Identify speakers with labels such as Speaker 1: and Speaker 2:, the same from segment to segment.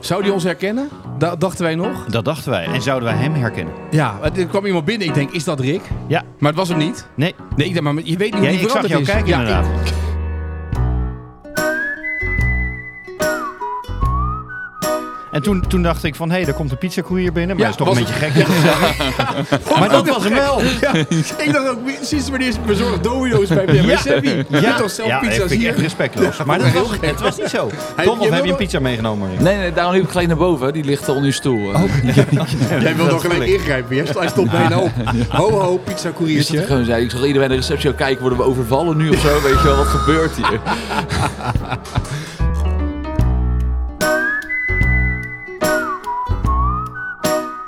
Speaker 1: Zou die ons herkennen? Da- dachten wij nog.
Speaker 2: Dat dachten wij. En zouden wij hem herkennen?
Speaker 1: Ja, maar er kwam iemand binnen. Ik denk, is dat Rick?
Speaker 2: Ja.
Speaker 1: Maar het was hem niet.
Speaker 2: Nee.
Speaker 1: Nee, ik denk, maar je weet niet hoe
Speaker 2: Ja,
Speaker 1: die
Speaker 2: ik zag
Speaker 1: veranderd
Speaker 2: jou
Speaker 1: is.
Speaker 2: kijken
Speaker 1: Ja,
Speaker 2: inderdaad.
Speaker 1: ik-
Speaker 2: En toen, toen dacht ik van, hé, daar komt een pizzacourier binnen. Maar
Speaker 1: Ja,
Speaker 2: dat is toch een
Speaker 1: was-
Speaker 2: beetje gek. Maar dat was hem wel.
Speaker 1: Ja, ik dacht ook, sinds wanneer is- bezorgd domino's bij
Speaker 2: Ja.
Speaker 1: BMS? Ja. Je hebt toch zelf
Speaker 2: ja,
Speaker 1: pizza's
Speaker 2: vind ik echt
Speaker 1: hier?
Speaker 2: respectloos. Maar dat
Speaker 1: vond ik
Speaker 2: was,
Speaker 1: heel gek.
Speaker 2: het was niet zo. Tom,
Speaker 1: je
Speaker 2: of heb
Speaker 1: wilde-
Speaker 2: je een pizza meegenomen? Rick?
Speaker 3: Nee, nee, daarom liep ik gelijk naar boven. Die ligt onder je stoel. eh.
Speaker 1: Jij wil nog gelijk ingrijpen. Jij- Hij stopt bijna op. Ho, ho, pizza
Speaker 3: Dus dat ik
Speaker 1: koeriertje.
Speaker 3: gewoon zei, ik zag iedereen aan de receptie ook kijken, worden we overvallen nu of zo? Weet je wel, wat gebeurt hier?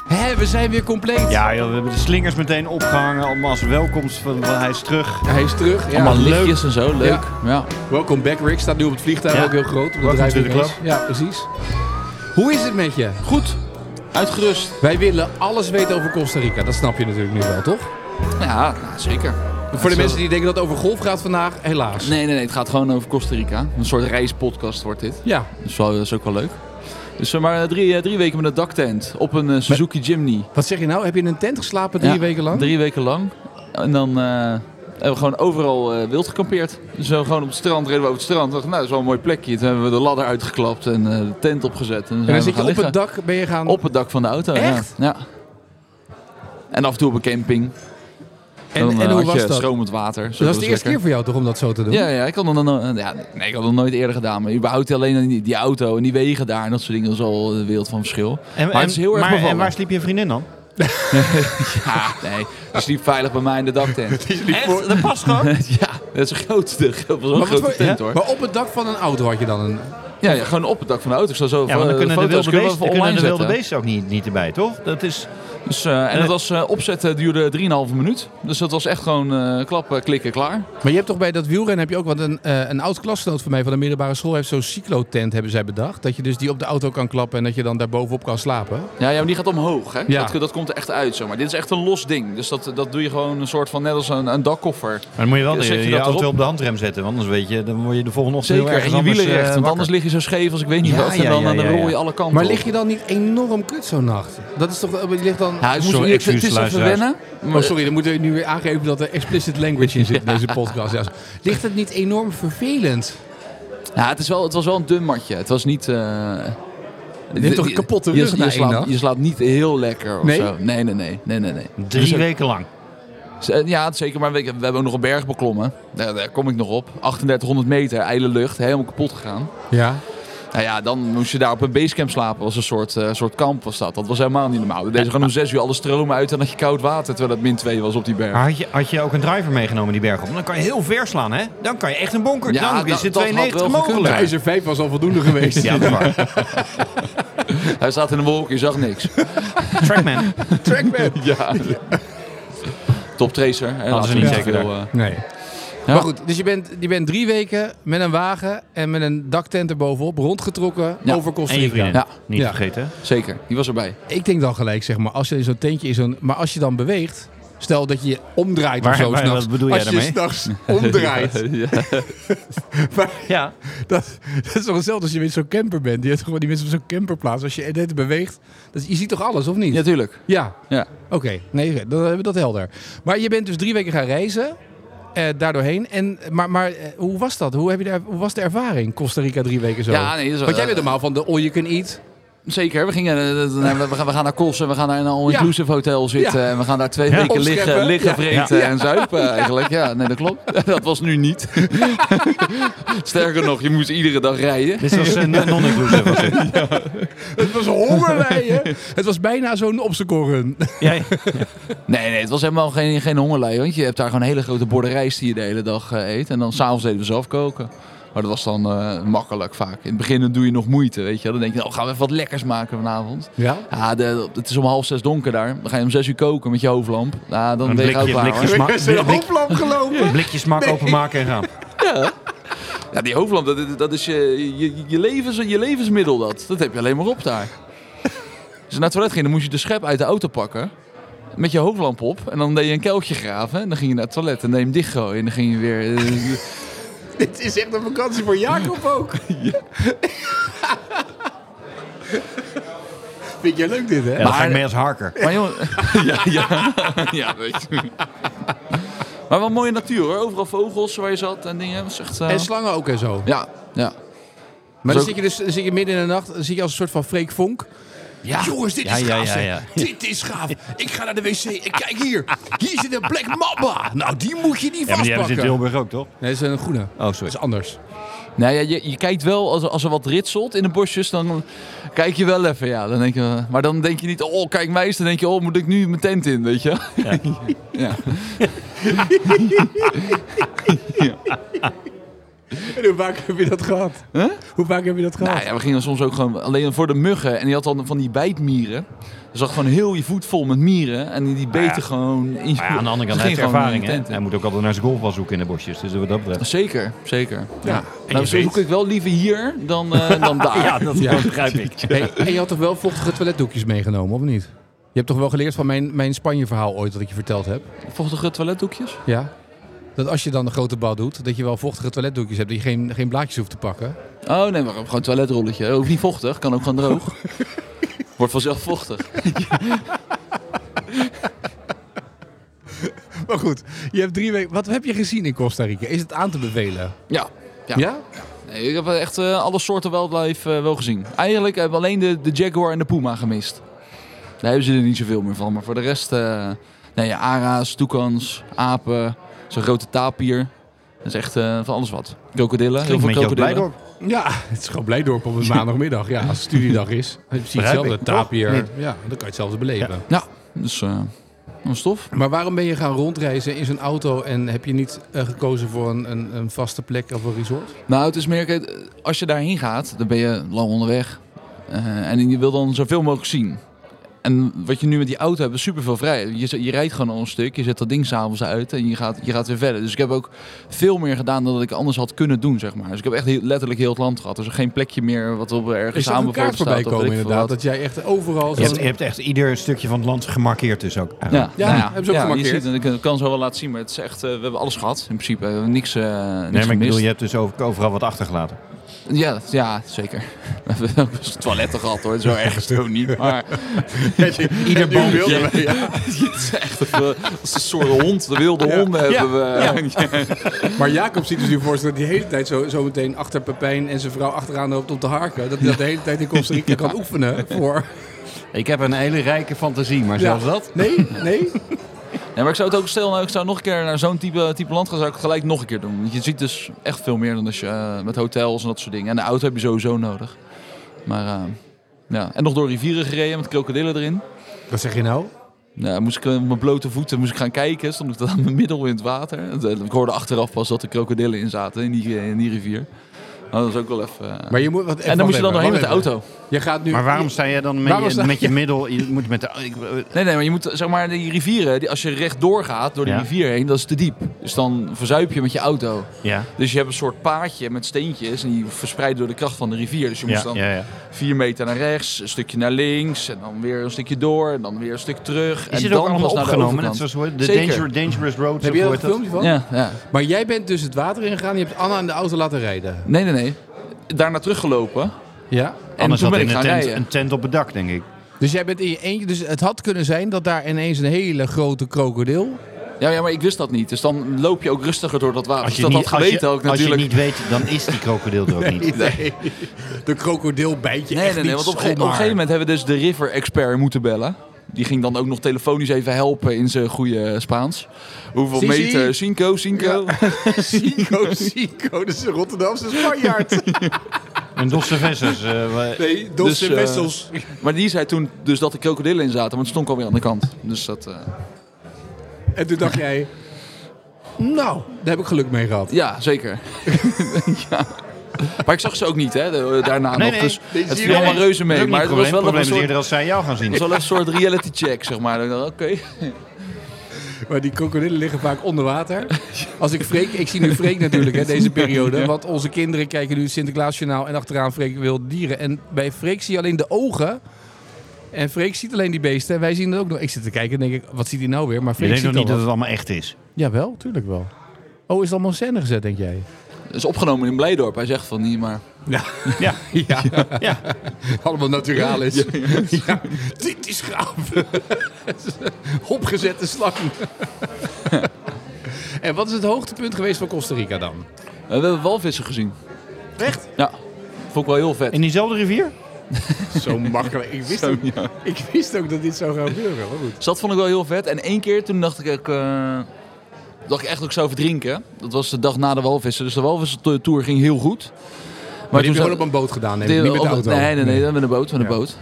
Speaker 1: Hé, we zijn weer compleet.
Speaker 2: Ja, joh, we hebben de slingers meteen opgehangen. Allemaal als welkomst van, van hij is terug.
Speaker 1: Hij is terug. Ja.
Speaker 3: Allemaal
Speaker 2: leuk.
Speaker 3: lichtjes en zo, leuk. Ja.
Speaker 1: Welcome back, Rick. Staat nu op het vliegtuig
Speaker 2: Ja.
Speaker 1: ook heel groot. Op de
Speaker 2: Welkom
Speaker 1: driving
Speaker 2: to the
Speaker 1: range. Ja, precies. Hoe is het met je?
Speaker 3: Goed, uitgerust.
Speaker 1: Wij willen alles weten over Costa Rica. Dat snap je natuurlijk nu wel, toch?
Speaker 3: Ja, nou, zeker.
Speaker 1: Voor de
Speaker 3: Zo-
Speaker 1: mensen die denken dat het over golf gaat vandaag, helaas.
Speaker 3: Nee, nee, nee, het gaat gewoon over Costa Rica. Een soort reispodcast wordt dit.
Speaker 1: Ja,
Speaker 3: Dus wel, dat is ook wel leuk. Dus eh, maar drie, eh, drie weken met een daktent op een eh, Suzuki Jimny.
Speaker 1: wat zeg je nou? Heb je in een tent geslapen drie
Speaker 3: Ja,
Speaker 1: weken lang?
Speaker 3: Drie weken lang. En dan eh, hebben we gewoon overal eh, wild gekampeerd. Dus we gewoon op het strand, reden we over het strand. Dacht, nou, dat is wel een mooi plekje. Toen hebben we de ladder uitgeklapt en eh, de tent opgezet. En,
Speaker 1: En dan
Speaker 3: zijn we
Speaker 1: zit je
Speaker 3: gaan
Speaker 1: op
Speaker 3: liggen.
Speaker 1: het dak, ben je gaan...
Speaker 3: Op het dak van de auto,
Speaker 1: Echt?
Speaker 3: ja. ja. En af en toe op een camping.
Speaker 1: en
Speaker 3: dan, eh,
Speaker 1: en hoe
Speaker 3: had
Speaker 1: was
Speaker 3: je
Speaker 1: dat?
Speaker 3: stromend water.
Speaker 1: Dat was de eerste keer
Speaker 3: lekker.
Speaker 1: voor jou toch om dat zo te doen?
Speaker 3: Ja, ja, ik had dat no- eh, ja, nee, ik had dat nooit eerder gedaan. Maar überhaupt alleen die, die auto en die wegen daar en dat soort dingen. Dat is al een wereld van verschil.
Speaker 2: En,
Speaker 3: Maar het is heel erg
Speaker 2: maar,
Speaker 3: bevallen.
Speaker 2: en waar sliep je vriendin dan?
Speaker 3: Ja, nee, die sliep veilig bij mij in de daktent.
Speaker 2: Echt? Dat past gewoon.
Speaker 3: ja, dat is een grootste, dat was wel
Speaker 1: Maar,
Speaker 3: een
Speaker 1: wat
Speaker 3: grote
Speaker 1: voor-
Speaker 3: tent hoor.
Speaker 1: maar op het dak van een auto had je dan een...
Speaker 3: Ja, ja, gewoon op het dak van de auto. Ik zal zo
Speaker 2: Ja, maar dan
Speaker 3: eh,
Speaker 2: kunnen de
Speaker 3: foto's
Speaker 2: wilde
Speaker 3: kunnen we
Speaker 2: beesten,
Speaker 3: even
Speaker 2: dan kunnen de
Speaker 3: online
Speaker 2: wilde
Speaker 3: zetten.
Speaker 2: beesten ook niet, niet erbij, toch? Dat is...
Speaker 3: Dus, eh, en het was eh, opzetten duurde 3,5 minuut. Dus dat was echt gewoon eh, klappen, klikken, klaar.
Speaker 1: Maar je hebt toch bij dat wielrennen heb je ook... Want een, eh, een oud klasgenoot van mij van de middelbare school heeft zo'n cyclotent hebben zij bedacht. Dat je dus die op de auto kan klappen en dat je dan daar bovenop kan slapen.
Speaker 3: Ja, ja, maar die gaat omhoog. Hè?
Speaker 1: Ja.
Speaker 3: Dat, dat komt er echt uit. Zeg maar. Dit is echt een los ding. Dus dat, dat doe je gewoon een soort van net als een, een dakkoffer.
Speaker 2: Maar dan moet je wel
Speaker 3: Ja,
Speaker 2: de-
Speaker 3: zet je
Speaker 2: je,
Speaker 3: dat
Speaker 2: auto
Speaker 3: erop?
Speaker 2: op de handrem zetten. Want anders weet je, dan word je de volgende ochtend
Speaker 3: Zeker.
Speaker 2: heel erg eh,
Speaker 3: En je wielen recht. want anders lig je zo scheef als ik weet niet
Speaker 2: Ja,
Speaker 3: wat. En
Speaker 2: ja,
Speaker 3: dan, eh,
Speaker 2: ja,
Speaker 3: dan
Speaker 2: ja,
Speaker 3: rol je
Speaker 2: ja.
Speaker 3: alle kanten
Speaker 1: Maar
Speaker 3: op.
Speaker 1: lig je dan niet enorm kut zo'n nacht? Dat is toch... Je ligt dan...
Speaker 3: Ja, het is,
Speaker 2: Sorry,
Speaker 3: het is
Speaker 2: excuus,
Speaker 3: even
Speaker 2: luisteraars.
Speaker 3: wennen.
Speaker 1: Oh, sorry, dan moeten we nu weer aangeven dat er explicit language in zit in deze podcast. Ja. Ligt het niet enorm vervelend?
Speaker 3: Ja, het, is wel, het was wel een dun matje. Het was niet... eh,
Speaker 1: Je hebt toch een kapotte rug
Speaker 3: je,
Speaker 1: na
Speaker 3: je,
Speaker 1: één
Speaker 3: slaat,
Speaker 1: nacht?
Speaker 3: je slaat niet heel lekker of
Speaker 1: Nee?
Speaker 3: zo. Nee, nee, nee. nee, nee, nee.
Speaker 2: Drie weken lang.
Speaker 3: Z- eh, Ja, zeker. Maar we, we hebben ook nog een berg beklommen. Daar, daar kom ik nog op. 3800 meter, ijle lucht. Helemaal kapot gegaan.
Speaker 1: Ja.
Speaker 3: Nou ja, dan moest je daar op een basecamp slapen. was een soort, eh, soort kamp was dat. Dat was helemaal niet normaal. We deden gewoon om zes uur alle stromen uit en had je koud water. Terwijl het min 2 was op die berg.
Speaker 2: Maar had je, had je ook een driver meegenomen die berg op? Dan kan je heel ver slaan, hè? Dan kan je echt een bonker.
Speaker 3: Ja,
Speaker 2: dan is
Speaker 3: dat-
Speaker 2: het
Speaker 3: dat had wel
Speaker 2: 92
Speaker 3: gekund.
Speaker 2: mogelijk.
Speaker 1: IJzer 5 was al voldoende geweest.
Speaker 2: Ja, dat is waar.
Speaker 1: Ah.
Speaker 3: Hij staat in de wolk, je zag niks.
Speaker 2: Trackman.
Speaker 1: Trackman.
Speaker 3: ja. Top tracer. hè, laten
Speaker 2: ze
Speaker 3: we
Speaker 2: niet
Speaker 3: te
Speaker 2: zeker
Speaker 3: veel,
Speaker 2: daar.
Speaker 3: eh,
Speaker 1: Nee.
Speaker 3: Ja.
Speaker 1: Maar goed, dus je bent, je bent drie weken met een wagen en met een daktent erbovenop rondgetrokken
Speaker 3: Ja.
Speaker 1: over Costa
Speaker 2: En je
Speaker 1: Rica.
Speaker 2: vriendin.
Speaker 3: Ja.
Speaker 2: Niet
Speaker 1: Ja.
Speaker 2: vergeten. hè?
Speaker 3: zeker, die was erbij.
Speaker 1: Ik denk dan gelijk, zeg maar, als je in zo'n tentje is, een, maar als je dan beweegt, stel dat je je omdraait
Speaker 2: Waar-
Speaker 1: of zo
Speaker 2: waar-
Speaker 1: s'nachts.
Speaker 2: wat bedoel jij
Speaker 1: als je
Speaker 2: daarmee?
Speaker 1: s'nachts omdraait.
Speaker 3: Ja.
Speaker 1: Maar
Speaker 2: Ja.
Speaker 1: dat, dat is toch hetzelfde als je met zo'n camper bent. Die, hebt gewoon die mensen op zo'n camperplaats. Als je de hele tijd beweegt, dat, je ziet toch alles, of niet?
Speaker 3: ja, tuurlijk.
Speaker 1: Ja,
Speaker 3: Ja.
Speaker 1: oké. Nee, oké, dan hebben we dat helder. Maar je bent dus drie weken gaan reizen. Eh, daardoorheen. En, maar maar eh, hoe was dat? Hoe, heb je daar, hoe was de ervaring Costa Rica drie weken zo?
Speaker 3: Ja, nee, dat is wel-
Speaker 1: Want jij bent normaal van de all you can eat.
Speaker 3: Zeker, we, gingen, eh, dat- nee, we, gaan, we gaan naar Kos en we gaan naar een all-inclusive hotel zitten. En we gaan daar twee weken liggen,
Speaker 1: Opscheppen.
Speaker 3: liggen
Speaker 1: Ja.
Speaker 3: vreten en zuipen eigenlijk. Ja, nee, dat klopt. Dat was nu niet. Sterker nog, je moest iedere dag rijden.
Speaker 2: Dit was eh, een non-inclusive. was dit.
Speaker 1: Het was hongerlijen. het was bijna zo'n obstacle
Speaker 2: Ja, ja.
Speaker 3: Nee, nee, het was helemaal geen, geen hongerlij. Want je hebt daar gewoon hele grote borden rijst die je de hele dag eh, eet. En dan s'avonds deden we zelf koken. Maar dat was dan eh, makkelijk vaak. In het begin dan doe je nog moeite, weet je wel. Dan denk je, nou, gaan we even wat lekkers maken vanavond.
Speaker 1: Ja?
Speaker 3: Ja, de, het is om half zes donker daar. Dan ga je om zes uur koken met je hoofdlamp. Ja, dan
Speaker 2: Een
Speaker 3: ben je
Speaker 2: blikje-
Speaker 3: gauw klaar,
Speaker 2: blikje
Speaker 3: hoor.
Speaker 2: sma-
Speaker 1: Er is een
Speaker 2: blik-
Speaker 1: hooplamp gelopen.
Speaker 2: Blikje smak openmaken en gaan.
Speaker 3: Ja, die hoofdlamp, dat, dat is je, je, je, levens, je levensmiddel dat. Dat heb je alleen maar op daar. Als je naar het toilet ging, dan moest je de schep uit de auto pakken. Met je hoofdlamp op. En dan deed je een kelkje graven. En dan ging je naar het toilet en deed je hem dichtgooien. En dan ging je weer... eh,
Speaker 1: Dit is echt een vakantie voor Jacob ook. Vind jij leuk dit, hè?
Speaker 2: Ja, dan ga
Speaker 3: Maar-
Speaker 2: ik mee als harker.
Speaker 3: Maar jongen, ja, ja, ja, weet je. Maar wel mooie natuur hoor. Overal vogels waar je zat en dingen. Dat is echt, eh,
Speaker 1: En slangen ook en zo.
Speaker 3: ja, ja.
Speaker 1: Maar
Speaker 3: Zo-
Speaker 1: dan zit, je dus, dan zit je midden in de nacht dan zit je als een soort van Freek Vonk.
Speaker 2: Ja.
Speaker 1: Jongens, dit
Speaker 2: Ja,
Speaker 1: is
Speaker 2: ja,
Speaker 1: gaaf.
Speaker 2: ja,
Speaker 1: zeg.
Speaker 2: ja.
Speaker 1: Dit is gaaf. Ik ga naar de wc en kijk hier. Hier zit een Black Mamba. Nou, die moet je niet
Speaker 2: Ja, maar die hebben ze
Speaker 1: vastpakken.
Speaker 2: in Tilburg ook, toch?
Speaker 1: Nee, dat is een groene.
Speaker 2: Oh,
Speaker 1: Dat
Speaker 2: sorry.
Speaker 1: is anders.
Speaker 3: Nou ja, je, je kijkt wel, als, er- als er wat ritselt in de bosjes, dan kijk je wel even. Ja, dan denk je, eh, maar dan denk je niet, oh kijk mij eens. Dan denk je, oh moet ik nu mijn tent in, weet je. Ja. ja.
Speaker 1: En hoe vaak heb je dat gehad? Hoe vaak heb je dat gehad?
Speaker 3: Nou ja, we gingen soms ook gewoon alleen voor de muggen. En die had dan van die bijtmieren. Dus zag gewoon heel je voet vol met mieren. En die- die beten
Speaker 2: Maar Nou ja.
Speaker 3: gewoon in
Speaker 2: Maar ja, aan de andere kant
Speaker 3: Ze
Speaker 2: hij heeft
Speaker 3: gingen gewoon in
Speaker 2: ervaring,
Speaker 3: de
Speaker 2: hè?
Speaker 3: tent in.
Speaker 2: Hij moet ook altijd naar zijn golfbal zoeken in de bosjes. Dus wat dat betreft...
Speaker 3: Zeker, zeker. Ja.
Speaker 2: je
Speaker 3: Nou, zo
Speaker 2: weet-
Speaker 3: zoek ik wel liever hier dan, eh, dan daar.
Speaker 2: Ja, dat
Speaker 1: Ja.
Speaker 2: begrijp ik.
Speaker 1: Hey, en je had toch wel vochtige toiletdoekjes meegenomen, of niet? Je hebt toch wel geleerd van mijn, mijn Spanje-verhaal ooit dat ik je verteld heb?
Speaker 3: Vochtige toiletdoekjes?
Speaker 1: Ja. Dat als je dan de grote bal doet, dat je wel vochtige toiletdoekjes hebt. Dat je geen, geen blaadjes hoeft te pakken.
Speaker 3: Oh nee, maar gewoon een toiletrolletje. Ook niet vochtig, kan ook gewoon droog. Wordt vanzelf vochtig.
Speaker 1: Maar goed, je hebt drie weken... Wat heb je gezien in Costa Rica? Is het aan te bevelen?
Speaker 3: Ja. Ja? Nee, ik heb echt eh, alle soorten wildlife eh, wel gezien. Eigenlijk hebben we alleen de, de jaguar en de puma gemist. Daar hebben ze er niet zoveel meer van. Maar voor de rest, eh nee, ja, ara's, toekans, apen, zo'n grote tapier. Dat is echt eh, van alles wat. Krokodillen, heel
Speaker 2: Klinkt
Speaker 3: veel
Speaker 2: een beetje als
Speaker 3: krokodillen.
Speaker 2: Blijdorp.
Speaker 1: Ja, het is gewoon Blijdorp op een maandagmiddag. Ja, als het studiedag is. Je ziet hetzelfde
Speaker 2: ik.
Speaker 1: tapier.
Speaker 2: Toch?
Speaker 1: Ja, dan kan je hetzelfde beleven.
Speaker 3: Ja, dus eh dat is tof.
Speaker 1: Maar waarom ben je gaan rondreizen in zo'n auto en heb je niet eh, gekozen voor een, een, een vaste plek of een resort?
Speaker 3: Nou, het is meer, kijk, als je daarheen gaat, dan ben je lang onderweg. Eh, en je wil dan zoveel mogelijk zien. En wat je nu met die auto hebt, is superveel vrij. Je, z- je rijdt gewoon al een stuk, je zet dat ding s'avonds uit en je gaat, je gaat weer verder. Dus ik heb ook veel meer gedaan dan dat ik anders had kunnen doen, zeg maar. Dus ik heb echt heel- letterlijk heel het land gehad. Dus er is geen plekje meer wat op
Speaker 1: Is
Speaker 3: ergens
Speaker 1: er een
Speaker 3: aanbevolen
Speaker 1: kaart
Speaker 3: staat.
Speaker 1: voorbij
Speaker 3: of weet
Speaker 1: komen
Speaker 3: ik veel
Speaker 1: inderdaad? Dat
Speaker 3: wat.
Speaker 1: jij echt overal...
Speaker 2: Je
Speaker 1: zo'n-
Speaker 2: hebt, je hebt echt ieder stukje van het land gemarkeerd dus ook.
Speaker 3: Ja,
Speaker 1: Ja,
Speaker 3: nou
Speaker 1: hebben ze ook
Speaker 3: je
Speaker 1: gemarkeerd.
Speaker 3: ziet, het. ik kan zo wel laten zien, maar het is echt, eh, we hebben alles gehad in principe. We hebben niks, eh niks
Speaker 2: Nee, maar ik
Speaker 3: gemist.
Speaker 2: bedoel, je hebt dus over- overal wat achtergelaten.
Speaker 3: Ja, dat- ja, zeker. We hebben ook eens toiletten gehad hoor, zo erg is het ook niet. Maar
Speaker 2: Ieder bandje.
Speaker 3: het is echt eh, als een soort hond, de wilde honden hebben we. eh,
Speaker 1: Maar Jacob ziet dus nu voorstellen dat hij de hele tijd zo, zo meteen achter Pepijn en zijn vrouw achteraan loopt om te harken. Dat hij dat de hele tijd in Costa Rica kan oefenen voor...
Speaker 4: Ik heb een hele rijke fantasie, maar zelfs
Speaker 1: Ja.
Speaker 4: dat.
Speaker 1: Nee, nee.
Speaker 3: Ja, maar ik zou het ook stel, nou, ik zou nog een keer naar zo'n type, type land gaan, zou ik het gelijk nog een keer doen. Want je ziet dus echt veel meer dan als je eh, met hotels en dat soort dingen. En de auto heb je sowieso nodig. Maar eh, ja, en nog door rivieren gereden met krokodillen erin.
Speaker 1: Wat zeg je nou?
Speaker 3: Nou, moest ik eh, op mijn blote voeten moest ik gaan kijken. Stond ik dan aan mijn middel in het water. En, eh, Ik hoorde achteraf pas dat er krokodillen in zaten in die, in die rivier. Nou, dat is ook wel even... eh,
Speaker 1: Maar je moet, wat,
Speaker 3: en dan moet je dan doorheen met de auto.
Speaker 1: Je gaat nu...
Speaker 4: Maar waarom sta jij dan met,
Speaker 1: Waarom
Speaker 4: je,
Speaker 1: sta-
Speaker 4: met je middel? Je moet met de, ik, eh,
Speaker 3: Nee, nee, maar je moet zeg maar die rivieren, die, als je rechtdoor gaat door die
Speaker 2: Ja.
Speaker 3: rivier heen, dat is te diep. Dus dan verzuip je met je auto.
Speaker 2: Ja.
Speaker 3: Dus je hebt een soort paadje met steentjes en die verspreiden door de kracht van de rivier. Dus je moest
Speaker 2: Ja,
Speaker 3: dan
Speaker 2: ja, ja.
Speaker 3: vier meter naar rechts, een stukje naar links en dan weer een stukje door en dan weer een stuk terug.
Speaker 4: Is
Speaker 3: en
Speaker 4: het
Speaker 3: dan
Speaker 4: ook allemaal
Speaker 3: pas naar de
Speaker 4: opgenomen? Net
Speaker 3: overkant.
Speaker 4: zoals hoe- de
Speaker 3: Zeker.
Speaker 4: Danger, Dangerous Road.
Speaker 1: Heb je daar een filmpje van?
Speaker 3: Ja, ja.
Speaker 1: Maar jij bent dus het water ingegaan. Je hebt Anna in de auto laten rijden.
Speaker 3: Nee, nee, nee. Daarna teruggelopen.
Speaker 1: Ja.
Speaker 3: En
Speaker 4: Anders
Speaker 3: toen
Speaker 4: had
Speaker 3: ben
Speaker 4: in
Speaker 3: ik
Speaker 4: een
Speaker 3: gaan
Speaker 4: tent,
Speaker 3: rijden.
Speaker 4: een tent op het dak, denk ik.
Speaker 1: Dus jij bent in je eentje. Dus het had kunnen zijn dat daar ineens een hele grote krokodil.
Speaker 3: Ja, ja, maar ik wist dat niet. Dus dan loop je ook rustiger door dat water. Dus
Speaker 4: Als je,
Speaker 3: dat
Speaker 4: niet,
Speaker 3: had geweten
Speaker 4: als je,
Speaker 3: ook
Speaker 4: als je
Speaker 3: natuurlijk.
Speaker 4: niet weet, dan is die krokodil er ook niet.
Speaker 1: De krokodil bijt je
Speaker 3: Nee,
Speaker 1: echt
Speaker 3: nee, nee.
Speaker 1: niet
Speaker 3: Want op, een ge- op een
Speaker 1: zomaar.
Speaker 3: gegeven moment hebben we dus de river expert moeten bellen. Die ging dan ook nog telefonisch even helpen in zijn goede Spaans. Hoeveel
Speaker 1: Si, si.
Speaker 3: meter? Cinco, cinco.
Speaker 1: Zico, Zico, dat is een Rotterdamse Spanjaard.
Speaker 2: En Dosse Vessers. eh, wa-
Speaker 1: Nee,
Speaker 3: Dus, eh, Maar die zei toen dus dat er krokodillen in zaten, want het stond alweer aan de kant. Dus dat, eh,
Speaker 1: En toen dacht jij... Nou, daar heb ik geluk mee gehad.
Speaker 3: ja, zeker. ja. Maar ik zag ze ook niet, hè, de- daarna nog.
Speaker 2: Nee, nee.
Speaker 3: Dus
Speaker 1: Deze
Speaker 3: het
Speaker 1: zie
Speaker 3: viel allemaal
Speaker 2: Nee,
Speaker 3: reuze
Speaker 2: dat
Speaker 3: mee.
Speaker 2: is ook
Speaker 3: Maar
Speaker 2: niet
Speaker 3: het
Speaker 2: probleem.
Speaker 3: was wel een
Speaker 2: probleem is
Speaker 3: soort,
Speaker 2: eerder als zij jou gaan
Speaker 3: het was
Speaker 2: zien.
Speaker 3: wel een soort reality check, zeg maar. Ik dacht, Oké.
Speaker 1: Maar die krokodillen liggen vaak onder water. Als ik Freek, ik zie nu Freek natuurlijk hè, deze periode. Want onze kinderen kijken nu het Sinterklaasjournaal en achteraan Freek wil dieren. En bij Freek zie je alleen de ogen. En Freek ziet alleen die beesten. En wij zien dat ook nog. Ik zit te kijken en denk ik, wat ziet hij nou weer? Maar
Speaker 2: Je
Speaker 1: Freek
Speaker 2: denkt
Speaker 1: ziet
Speaker 2: nog niet dat
Speaker 1: al
Speaker 2: het allemaal echt is.
Speaker 1: wat. Jawel, tuurlijk wel. Oh, is het allemaal scène gezet, denk jij?
Speaker 3: Dat is opgenomen in Blijdorp. Hij zegt van niet, maar
Speaker 2: Ja. Ja. ja. ja.
Speaker 1: Allemaal naturaal is. Ja, dit is gaaf. Opgezette slang. en wat is het hoogtepunt geweest van Costa Rica dan?
Speaker 3: we hebben walvissen gezien.
Speaker 2: Echt?
Speaker 3: Ja, vond ik wel heel vet.
Speaker 2: In diezelfde rivier?
Speaker 1: Zo makkelijk. Ik wist, ook, ik wist ook dat dit zou gaan gebeuren. Maar goed.
Speaker 3: Dus dat vond ik wel heel vet. En één keer toen dacht ik ook, eh, dacht ik echt dat ik zou verdrinken. Dat was de dag na de walvissen. Dus de walvissentour ging heel goed.
Speaker 1: Maar die
Speaker 3: toen
Speaker 1: hebben
Speaker 3: zijn-
Speaker 1: gewoon op een boot gedaan, neem ik, niet met de
Speaker 3: op-
Speaker 1: auto.
Speaker 3: Nee, nee, nee, met een boot, met een
Speaker 1: Ja.
Speaker 3: boot.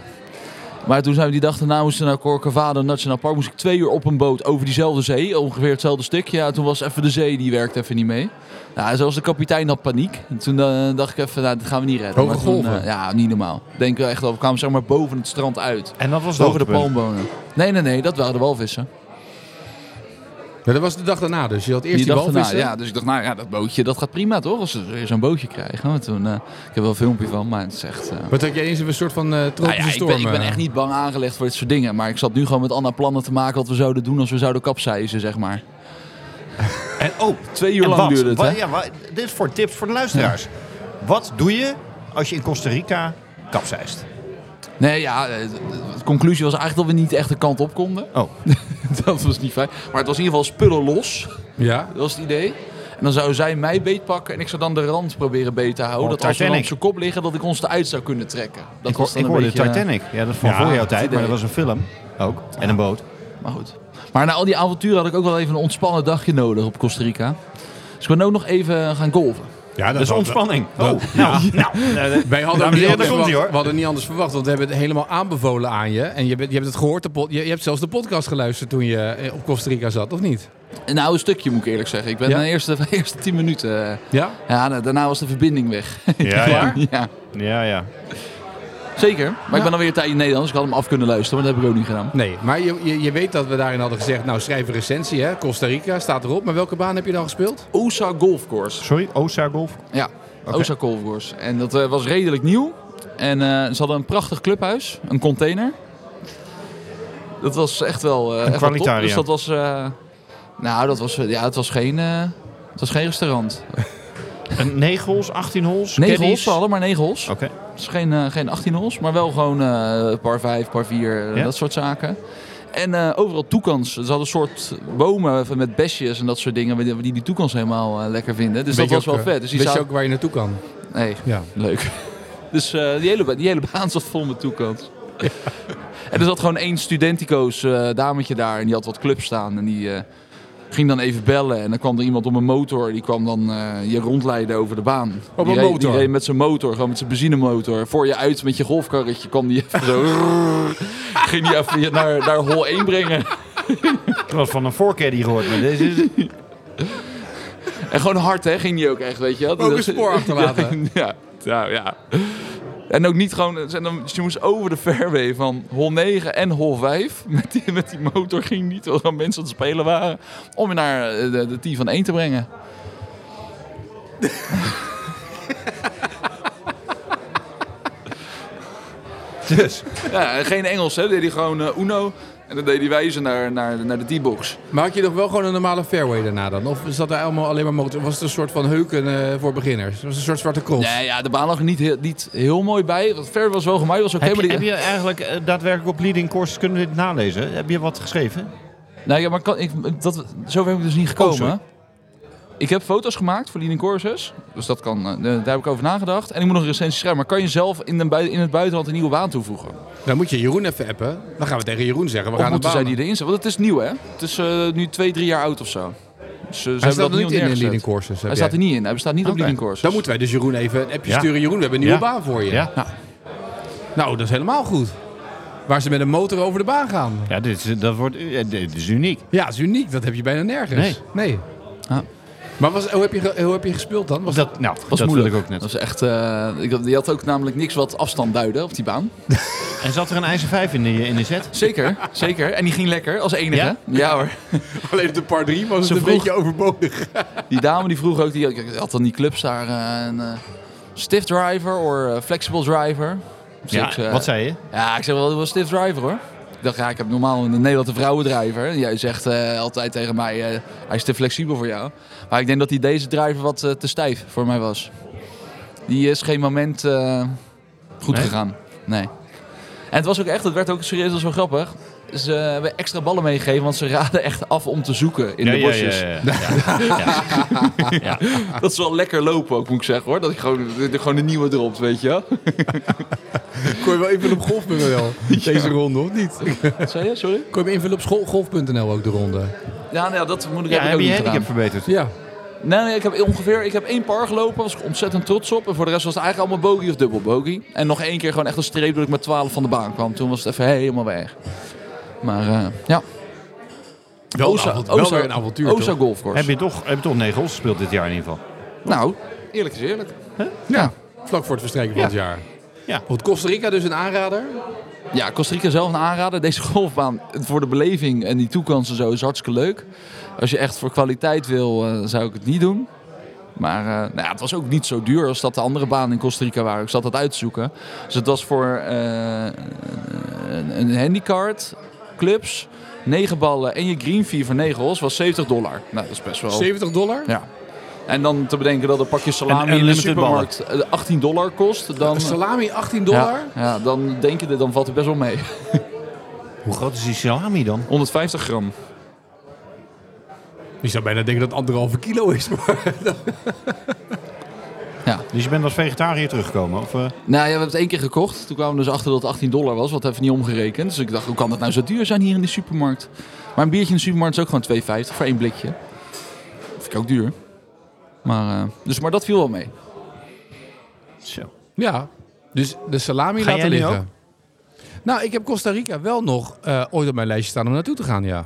Speaker 3: Maar toen zijn we die dag daarna moesten we naar Corcovado Nationaal Park. Moest ik twee uur op een boot over diezelfde zee. Ongeveer hetzelfde stukje. Ja, toen was even de zee, die werkte even niet mee. Ja, zelfs de kapitein had paniek. En toen eh, dacht ik even, nou, dat gaan we niet redden.
Speaker 1: Hoge
Speaker 3: Maar toen,
Speaker 1: golven.
Speaker 3: eh, ja, niet normaal. Denk wel echt, wel, we kwamen zeg maar boven het strand uit.
Speaker 2: En dat was het
Speaker 3: Boven de
Speaker 2: hoogtepunt.
Speaker 3: palmbonen. Nee, nee, nee, dat waren de walvissen.
Speaker 1: Ja, dat was de dag daarna dus. Je had eerst die,
Speaker 3: Die dacht
Speaker 1: walvissen.
Speaker 3: daarna, ja, dus ik dacht, nou ja, dat bootje, dat gaat prima toch? Als we weer zo'n bootje krijgen. Want toen, eh, ik heb wel een filmpje van, maar het is echt... eh,
Speaker 1: Wat had je eens een soort van eh tropische
Speaker 3: nou ja, ik,
Speaker 1: storm?
Speaker 3: ben, ik ben
Speaker 1: eh,
Speaker 3: echt niet bang aangelegd voor dit soort dingen. Maar ik zat nu gewoon met Anna plannen te maken wat we zouden doen als we zouden kapseizen, zeg maar.
Speaker 2: En, oh,
Speaker 3: Twee uur
Speaker 2: en
Speaker 3: lang
Speaker 2: wat?
Speaker 3: duurde het,
Speaker 2: Wat-
Speaker 3: hè?
Speaker 2: ja, wat- dit is voor tips voor de luisteraars. Wat doe je als je in Costa Rica kapseist?
Speaker 3: Nee, ja, eh, de, de conclusie was eigenlijk dat we niet echt de kant op konden.
Speaker 2: Oh.
Speaker 3: dat was niet fijn. Maar het was in ieder geval spullen los.
Speaker 1: Ja?
Speaker 3: Dat was het idee. En dan zou zij mij beetpakken en ik zou dan de rand proberen beet te houden.
Speaker 2: Oh,
Speaker 3: dat als we dan op
Speaker 2: Titanic.
Speaker 3: zijn kop liggen, dat ik ons eruit zou kunnen trekken. Dat
Speaker 4: Ik, hoor,
Speaker 3: was dan
Speaker 4: ik
Speaker 3: een
Speaker 4: hoorde
Speaker 3: beetje, eh,
Speaker 4: Titanic. Ja, dat is van
Speaker 2: Ja,
Speaker 4: voor jouw
Speaker 2: dat
Speaker 4: tijd,
Speaker 3: idee.
Speaker 4: maar dat was een film.
Speaker 2: Ook. En een boot.
Speaker 3: Maar goed. Maar na al die avonturen had ik ook wel even een ontspannen dagje nodig op Costa Rica. Dus ik ben ook nog even gaan golven.
Speaker 1: ja
Speaker 2: Dat is ontspanning. Oh, nou, nou. nou, eh,
Speaker 1: Wij hadden, ook niet
Speaker 2: Dames en heren,
Speaker 1: anders
Speaker 2: daar komt-ie,
Speaker 1: verwacht-
Speaker 2: hoor.
Speaker 1: we hadden niet anders verwacht, want we hebben het helemaal aanbevolen aan je. En je, bent, je hebt het gehoord, de pod- je, je hebt zelfs de podcast geluisterd toen je eh, op Costa Rica zat, of niet?
Speaker 3: Een oude stukje moet ik eerlijk zeggen. Ik ben
Speaker 1: Ja?
Speaker 3: de eerste, de eerste tien minuten. eh,
Speaker 1: Ja?
Speaker 3: Ja, nou, daarna was de verbinding weg.
Speaker 4: Ja, ja.
Speaker 3: ja,
Speaker 4: ja, ja.
Speaker 3: zeker. Maar ik ben alweer een tijdje in Nederland, dus ik had hem af kunnen luisteren. Maar dat heb ik ook niet gedaan.
Speaker 1: Nee, maar je, je, je weet dat we daarin hadden gezegd, nou schrijf een recensie hè, Costa Rica staat erop. Maar welke baan heb je dan gespeeld?
Speaker 3: Osa Golf Course.
Speaker 4: Sorry, Osa Golf?
Speaker 3: Ja, Osa Golf Course. En dat eh, was redelijk nieuw. En eh, ze hadden een prachtig clubhuis, een container. Dat was echt wel, eh, echt wel top.
Speaker 4: kwalitaria.
Speaker 3: Dus dat was... eh, nou, dat was, ja, het, was geen, eh, het was geen restaurant.
Speaker 2: Een 9 hols, 18 hols,
Speaker 3: Negen
Speaker 2: caddies?
Speaker 3: hols, ze hadden maar negen hols.
Speaker 1: Oh.
Speaker 2: Oké.
Speaker 3: Dus geen, eh, geen 18 hols, maar wel gewoon eh, par 5, par 4, eh,
Speaker 2: Ja.
Speaker 3: dat soort zaken. En eh, overal toekans. Ze hadden een soort bomen van- met besjes en dat soort dingen, die die, die toekans helemaal eh, lekker vinden. Dus
Speaker 1: Weet je
Speaker 3: dat was
Speaker 1: ook,
Speaker 3: wel
Speaker 1: eh,
Speaker 3: vet. Dus die
Speaker 1: Wist je
Speaker 3: zaten-
Speaker 1: ook waar je naartoe kan?
Speaker 3: Nee,
Speaker 1: Ja.
Speaker 3: leuk. Dus eh, die, hele, ba- die hele baan zat vol met toekans. En er zat gewoon één studentico's eh, dametje daar en die had wat clubs staan. En die eh, ging dan even bellen en dan kwam er iemand op een motor. Die kwam dan eh, je rondleiden over de baan.
Speaker 1: Op
Speaker 3: die
Speaker 1: een
Speaker 3: reed-
Speaker 1: motor?
Speaker 3: Die reed met zijn motor, gewoon met zijn benzinemotor. Voor je uit met je golfkarretje kwam die even zo... ging die even je naar, naar hol 1 brengen.
Speaker 2: Ik was van een voorcaddy gehoord, maar deze is...
Speaker 3: En gewoon hard, hè? Ging die ook echt, weet je wel?
Speaker 1: Ook een spoor achterlaten.
Speaker 3: ja, ja, nou ja. En ook niet gewoon... en dan- Dus je moest over de fairway van hol 9 en hol 5. Met die, met die motor ging niet, terwijl er mensen aan het spelen waren. Om je naar eh, de, de tee van 1 te brengen.
Speaker 2: Dus.
Speaker 3: Ja, en geen Engels, hè? Deed hij gewoon eh, Uno. En dan deed hij wijzen naar, naar, naar de teebox.
Speaker 1: Maar had je nog wel gewoon een normale fairway daarna dan? Of zat daar allemaal alleen maar motor? Was het een soort van heuken eh, voor beginners? Was het een soort zwarte cross?
Speaker 3: Nee, ja, de baan lag er niet heel, niet heel mooi bij. Want fairway was wel gemaaid, was oké.
Speaker 2: Heb,
Speaker 3: maar
Speaker 2: je,
Speaker 3: die-
Speaker 2: heb je eigenlijk eh, daadwerkelijk op leading courses kunnen we dit nalezen? Heb je wat geschreven?
Speaker 3: Nou ja, maar kan, ik, dat, zover heb ik dus
Speaker 1: Oh,
Speaker 3: niet gekomen.
Speaker 2: sorry.
Speaker 3: ik heb foto's gemaakt voor Leading Courses. Dus dat kan, eh, daar heb ik over nagedacht. En ik moet nog een recensie schrijven. Maar kan je zelf in, de, bui- in het buitenland een nieuwe baan toevoegen?
Speaker 1: Dan moet je Jeroen even appen. Dan gaan we tegen Jeroen zeggen, we
Speaker 3: Of
Speaker 1: gaan het
Speaker 3: moeten zij
Speaker 1: banen.
Speaker 3: die erin zetten? Want het is nieuw, hè? Het is eh, nu twee, drie jaar oud of zo. Dus, eh, ze
Speaker 1: Hij
Speaker 3: hebben
Speaker 1: staat
Speaker 3: dat
Speaker 1: er niet
Speaker 3: nieuw
Speaker 1: in in
Speaker 3: neergezet.
Speaker 1: leading courses.
Speaker 3: Hij staat er niet in. Hij bestaat niet op Leading Courses.
Speaker 1: Dan moeten wij dus Jeroen even een appje
Speaker 2: Ja.
Speaker 1: sturen. Jeroen, we hebben een nieuwe
Speaker 2: Ja.
Speaker 1: baan voor je.
Speaker 2: Ja.
Speaker 1: Nou, dat is helemaal goed. Waar ze met een motor over de baan gaan.
Speaker 4: Ja, dit is, dat wordt, eh, dit is uniek.
Speaker 1: Ja, dat is uniek. Dat heb je bijna nergens.
Speaker 4: Nee.
Speaker 3: Ah.
Speaker 1: Maar was, hoe, heb je, ge- hoe heb je gespeeld dan? Was
Speaker 4: Dat, nou,
Speaker 3: was
Speaker 4: dat wil
Speaker 3: moeilijk.
Speaker 4: ik ook net.
Speaker 3: Dat was echt, eh, ik, had- die had ook namelijk niks wat afstand duiden op die baan.
Speaker 2: En zat er een ijzer 5 in de, in de set?
Speaker 3: Zeker, zeker. En die ging lekker, als enige.
Speaker 2: Ja?
Speaker 3: ja hoor.
Speaker 1: alleen de par 3 was
Speaker 3: Ze vroeg-
Speaker 1: overbodig.
Speaker 3: Die dame die vroeg ook, die die had dan die clubs daar, eh, een eh, stiff driver of flexible driver. Dus
Speaker 2: Ja,
Speaker 3: ik, eh,
Speaker 2: wat zei je?
Speaker 3: Ja, ik zeg wel, wel stiff driver hoor. Ik dacht, ja, ik heb normaal in Nederland een vrouwendrijver. En jij zegt eh, altijd tegen mij, eh, hij is te flexibel voor jou. Maar ik denk dat die deze driver wat eh, te stijf voor mij was. Die is geen moment eh, goed
Speaker 4: Nee?
Speaker 3: gegaan. Nee. En het was ook echt, het werd ook serieus wel zo grappig. Ze hebben extra ballen meegegeven, want ze raden echt af om te zoeken in
Speaker 4: Ja,
Speaker 3: de
Speaker 4: ja,
Speaker 3: bosjes.
Speaker 4: ja, ja, ja. Ja. Ja.
Speaker 3: Dat is wel lekker lopen ook, moet ik zeggen hoor. Dat ik gewoon, dat ik gewoon een nieuwe dropt, weet je wel.
Speaker 1: Kon je wel invullen op golf.nl deze ronde, of niet?
Speaker 3: Wat zei je? Sorry?
Speaker 1: Kon je hem invullen op school- golf.nl ook de ronde?
Speaker 3: Ja, nou ja, dat moet ik
Speaker 4: Ja,
Speaker 3: heb ik
Speaker 4: heb
Speaker 3: ook
Speaker 4: je
Speaker 3: niet
Speaker 4: handicap
Speaker 3: gedaan.
Speaker 4: verbeterd?
Speaker 1: Ja.
Speaker 3: Nee, nee, ik heb ongeveer ik heb één par gelopen, was ik ontzettend trots op. En voor de rest was het eigenlijk allemaal bogey of dubbel bogey. En nog één keer gewoon echt een streep dat ik met 12 van de baan kwam. Toen was het even helemaal weg. Maar eh, ja,
Speaker 1: Wel,
Speaker 3: Oza-
Speaker 1: een avont- wel
Speaker 3: Oza-
Speaker 1: weer een avontuur,
Speaker 3: Oza
Speaker 1: toch?
Speaker 3: Golfcourse.
Speaker 4: Heb je toch, heb je toch negen hols gespeeld dit jaar in ieder geval?
Speaker 3: Nou, eerlijk is eerlijk.
Speaker 1: Ja. Vlak voor het verstrijken van
Speaker 4: Ja.
Speaker 1: het jaar.
Speaker 4: Ja.
Speaker 1: Goed, Costa Rica dus een aanrader.
Speaker 3: Ja, Costa Rica zelf een aanrader. Deze golfbaan voor de beleving en die toekomst en zo is hartstikke leuk. Als je echt voor kwaliteit wil, eh, zou ik het niet doen. Maar eh, nou ja, het was ook niet zo duur als dat de andere banen in Costa Rica waren. Ik zat dat uit te zoeken. Dus het was voor eh, een, een handicard, clubs, 9 ballen en je green fee voor 9 holes was 70 dollar. Nou, dat is best wel...
Speaker 1: 70 dollar.
Speaker 3: Ja. En dan te bedenken dat een pakje
Speaker 4: En
Speaker 3: salami in de
Speaker 4: unlimited
Speaker 3: supermarkt eh, 18 dollar kost. Dan,
Speaker 1: Een salami 18 dollar.
Speaker 3: Ja, ja, dan denk je, dan valt het best wel mee.
Speaker 4: Hoe groot is die salami dan?
Speaker 3: 150 gram.
Speaker 1: Je zou bijna denken dat het anderhalve kilo is. Maar
Speaker 4: Dus je bent als vegetariër teruggekomen? Of, eh?
Speaker 3: Nou ja, we hebben het één keer gekocht. Toen kwamen we dus achter dat het 18 dollar was, wat even niet omgerekend. Dus ik dacht, hoe kan dat nou zo duur zijn hier in de supermarkt? Maar een biertje in de supermarkt is ook gewoon 2,50 voor één blikje. Vind ik ook duur. Maar, eh, dus, maar dat viel wel mee.
Speaker 4: Zo.
Speaker 1: ja. Dus de salami
Speaker 4: Ga
Speaker 1: laten
Speaker 4: jij nu
Speaker 1: liggen. Nou, ik heb Costa Rica wel nog eh, ooit op mijn lijstje staan om naartoe te gaan, ja.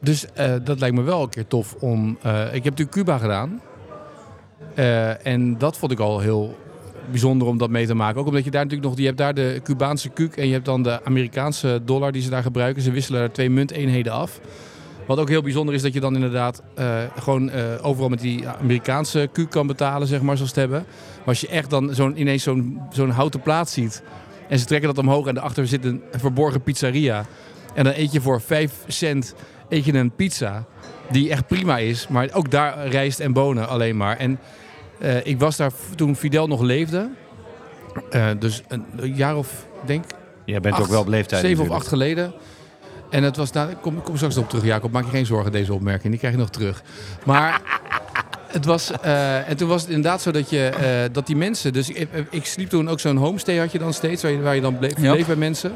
Speaker 1: Dus eh, dat lijkt me wel een keer tof om... eh, ik heb natuurlijk Cuba gedaan. Eh, en dat vond ik al heel bijzonder om dat mee te maken. Ook omdat je daar natuurlijk nog... Je hebt daar de Cubaanse kuuk en je hebt dan de Amerikaanse dollar die ze daar gebruiken. Ze wisselen daar twee munteenheden af. Wat ook heel bijzonder is dat je dan inderdaad eh, gewoon eh, overal met die Amerikaanse kuuk kan betalen, zeg maar, zoals ze het hebben. Maar als je echt dan zo'n, ineens zo'n, zo'n houten plaat ziet en ze trekken dat omhoog en daarachter zit een verborgen pizzeria. En dan eet je voor 5 cent eet je een pizza die echt prima is. Maar ook daar rijst en bonen alleen maar. En eh, ik was daar v- toen Fidel nog leefde. eh, dus een, een jaar of, denk
Speaker 4: Jij bent
Speaker 1: Acht,
Speaker 4: ook wel op leeftijd
Speaker 1: Zeven of acht
Speaker 4: natuurlijk.
Speaker 1: geleden. En het was, nou, ik kom, ik kom straks op terug, Jacob. Maak je geen zorgen, deze opmerking. Die krijg je nog terug. Maar het was, eh, en toen was het inderdaad zo dat, je, eh, dat die mensen... Dus ik, ik sliep toen ook zo'n homestay had je dan steeds, waar je, waar je dan bleef,
Speaker 3: Ja.
Speaker 1: bleef bij mensen.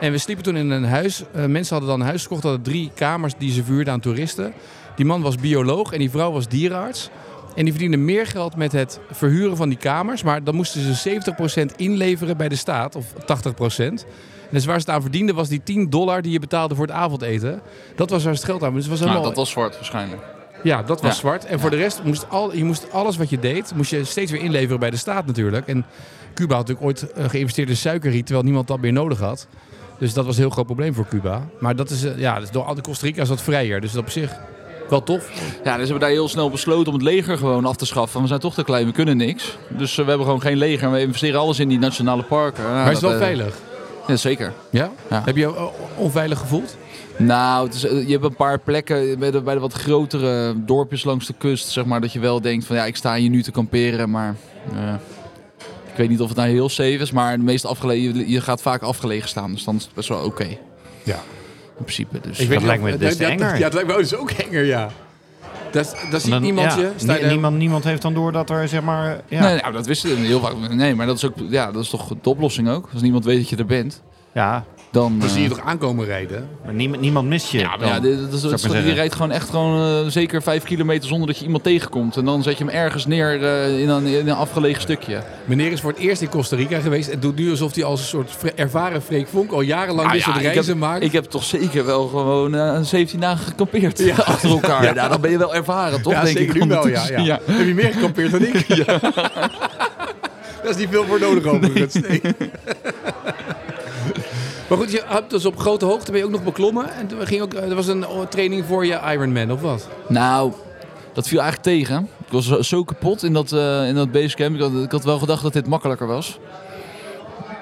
Speaker 1: En we sliepen toen in een huis. Eh, mensen hadden dan een huis gekocht, hadden drie kamers die ze vuurden aan toeristen. Die man was bioloog en die vrouw was dierenarts. En die verdienden meer geld met het verhuren van die kamers. Maar dan moesten ze 70% inleveren bij de staat, of 80%. En dus waar ze het aan verdienden was die 10 dollar die je betaalde voor het avondeten. Dat was waar ze het geld aan Dus het was
Speaker 3: Nou,
Speaker 1: helemaal...
Speaker 3: dat was zwart waarschijnlijk.
Speaker 1: Ja, dat was
Speaker 3: Ja.
Speaker 1: zwart. En voor de rest moest al, je moest alles wat je deed, moest je steeds weer inleveren bij de staat natuurlijk. En Cuba had natuurlijk ooit eh, geïnvesteerd in suikerriet, terwijl niemand dat meer nodig had. Dus dat was een heel groot probleem voor Cuba. Maar dat is, eh, ja, dus door de Costa Rica is dat vrijer. Dus dat op zich wel tof.
Speaker 3: Ja, dus hebben we daar heel snel besloten om het leger gewoon af te schaffen. We zijn toch te klein, we kunnen niks. Dus eh, we hebben gewoon geen leger en we investeren alles in die nationale parken. Nou,
Speaker 1: maar is het
Speaker 3: dat,
Speaker 1: wel
Speaker 3: eh,
Speaker 1: veilig.
Speaker 3: Ja, zeker.
Speaker 1: Ja?
Speaker 3: ja.
Speaker 1: Heb je je eh, onveilig gevoeld?
Speaker 3: Nou, het is, eh, je hebt een paar plekken bij de, bij de wat grotere dorpjes langs de kust, zeg maar, dat je wel denkt van ja, ik sta hier nu te kamperen, maar eh, ik weet niet of het nou heel safe is, maar de meest afgelegen, je, je gaat vaak afgelegen staan, dus dan is het best wel oké.
Speaker 1: Ja.
Speaker 3: In principe dus.
Speaker 4: weet- lijkt me des te enger.
Speaker 1: Ja, dat lijkt me dus ook enger, ja. Daar daar ziet
Speaker 4: Dan-
Speaker 1: niemand
Speaker 4: ja,
Speaker 1: je. Sta je
Speaker 4: nie-
Speaker 1: daar-
Speaker 4: niemand, niemand heeft dan door dat er zeg maar... Ja,
Speaker 3: Nee, nou, dat wisten we heel vaak. Nee, maar dat is ook, ja, dat is toch de oplossing ook. Als niemand weet dat je er bent,
Speaker 4: ja
Speaker 3: dan.
Speaker 1: Dan
Speaker 3: eh,
Speaker 1: zie je toch aankomen rijden?
Speaker 4: maar niemand, niemand mist je.
Speaker 3: ja,
Speaker 4: dan.
Speaker 3: ja, dit- dit is-
Speaker 4: zou ik maar
Speaker 3: die
Speaker 4: zeggen.
Speaker 3: rijdt gewoon echt gewoon eh, zeker vijf kilometer zonder dat je iemand tegenkomt. En dan zet je hem ergens neer eh, in, een, in een afgelegen stukje.
Speaker 1: Meneer is voor het eerst in Costa Rica geweest en doet nu alsof hij als een soort vre- ervaren Freek Vonk al jarenlang dit soort
Speaker 3: Ah Nou ik
Speaker 1: reizen
Speaker 3: heb,
Speaker 1: maakt.
Speaker 3: Ik heb toch zeker wel gewoon eh, 17 dagen gekampeerd achter elkaar. Nou, dan ben je wel ervaren, toch?
Speaker 1: ja,
Speaker 3: denk
Speaker 1: zeker
Speaker 3: ik,
Speaker 1: nu wel, ja,
Speaker 3: ondertussen.
Speaker 1: ja. Heb je meer gekampeerd dan ik? Daar is niet veel voor nodig overigens. Nee. maar goed, je hebt dus op grote hoogte ben je ook nog beklommen. En toen ging ook, er was een oh, training voor je Ironman, of wat?
Speaker 3: Nou, dat viel eigenlijk tegen. Ik was zo- zo kapot in dat, eh in dat basecamp. Ik had, ik had wel gedacht dat dit makkelijker was.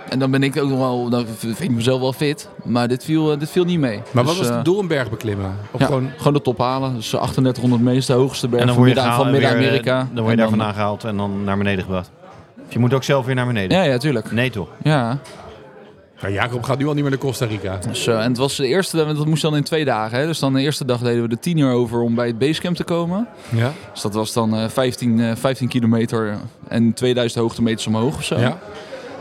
Speaker 3: En dan ben ik ook nog wel, dan vind ik mezelf wel fit. Maar dit viel, eh, dit viel niet mee.
Speaker 1: Maar
Speaker 3: Dus,
Speaker 1: wat was
Speaker 3: eh,
Speaker 1: het doel om berg beklimmen? Of
Speaker 3: ja,
Speaker 1: gewoon...
Speaker 3: gewoon... de top halen. Dus eh, 3800 meest de hoogste berg
Speaker 4: En dan
Speaker 3: van
Speaker 4: word je,
Speaker 3: Midden-
Speaker 4: gehaald,
Speaker 3: van
Speaker 4: en weer, eh,
Speaker 3: Midden-Amerika.
Speaker 4: Dan word je daar vandaan gehaald en dan naar beneden gebracht. Je moet ook zelf weer naar beneden.
Speaker 3: Ja, ja, tuurlijk.
Speaker 4: Nee toch?
Speaker 3: Ja.
Speaker 1: Ja, Jacob gaat nu al niet meer naar Costa Rica.
Speaker 3: Dus, eh, en het was de eerste, dat moest dan in twee dagen. Hè. Dus dan de eerste dag deden we de tien uur over om bij het basecamp te komen.
Speaker 1: Ja?
Speaker 3: Dus dat was dan eh, 15, eh, 15 kilometer en 2000 hoogtemeters omhoog of zo.
Speaker 1: ja?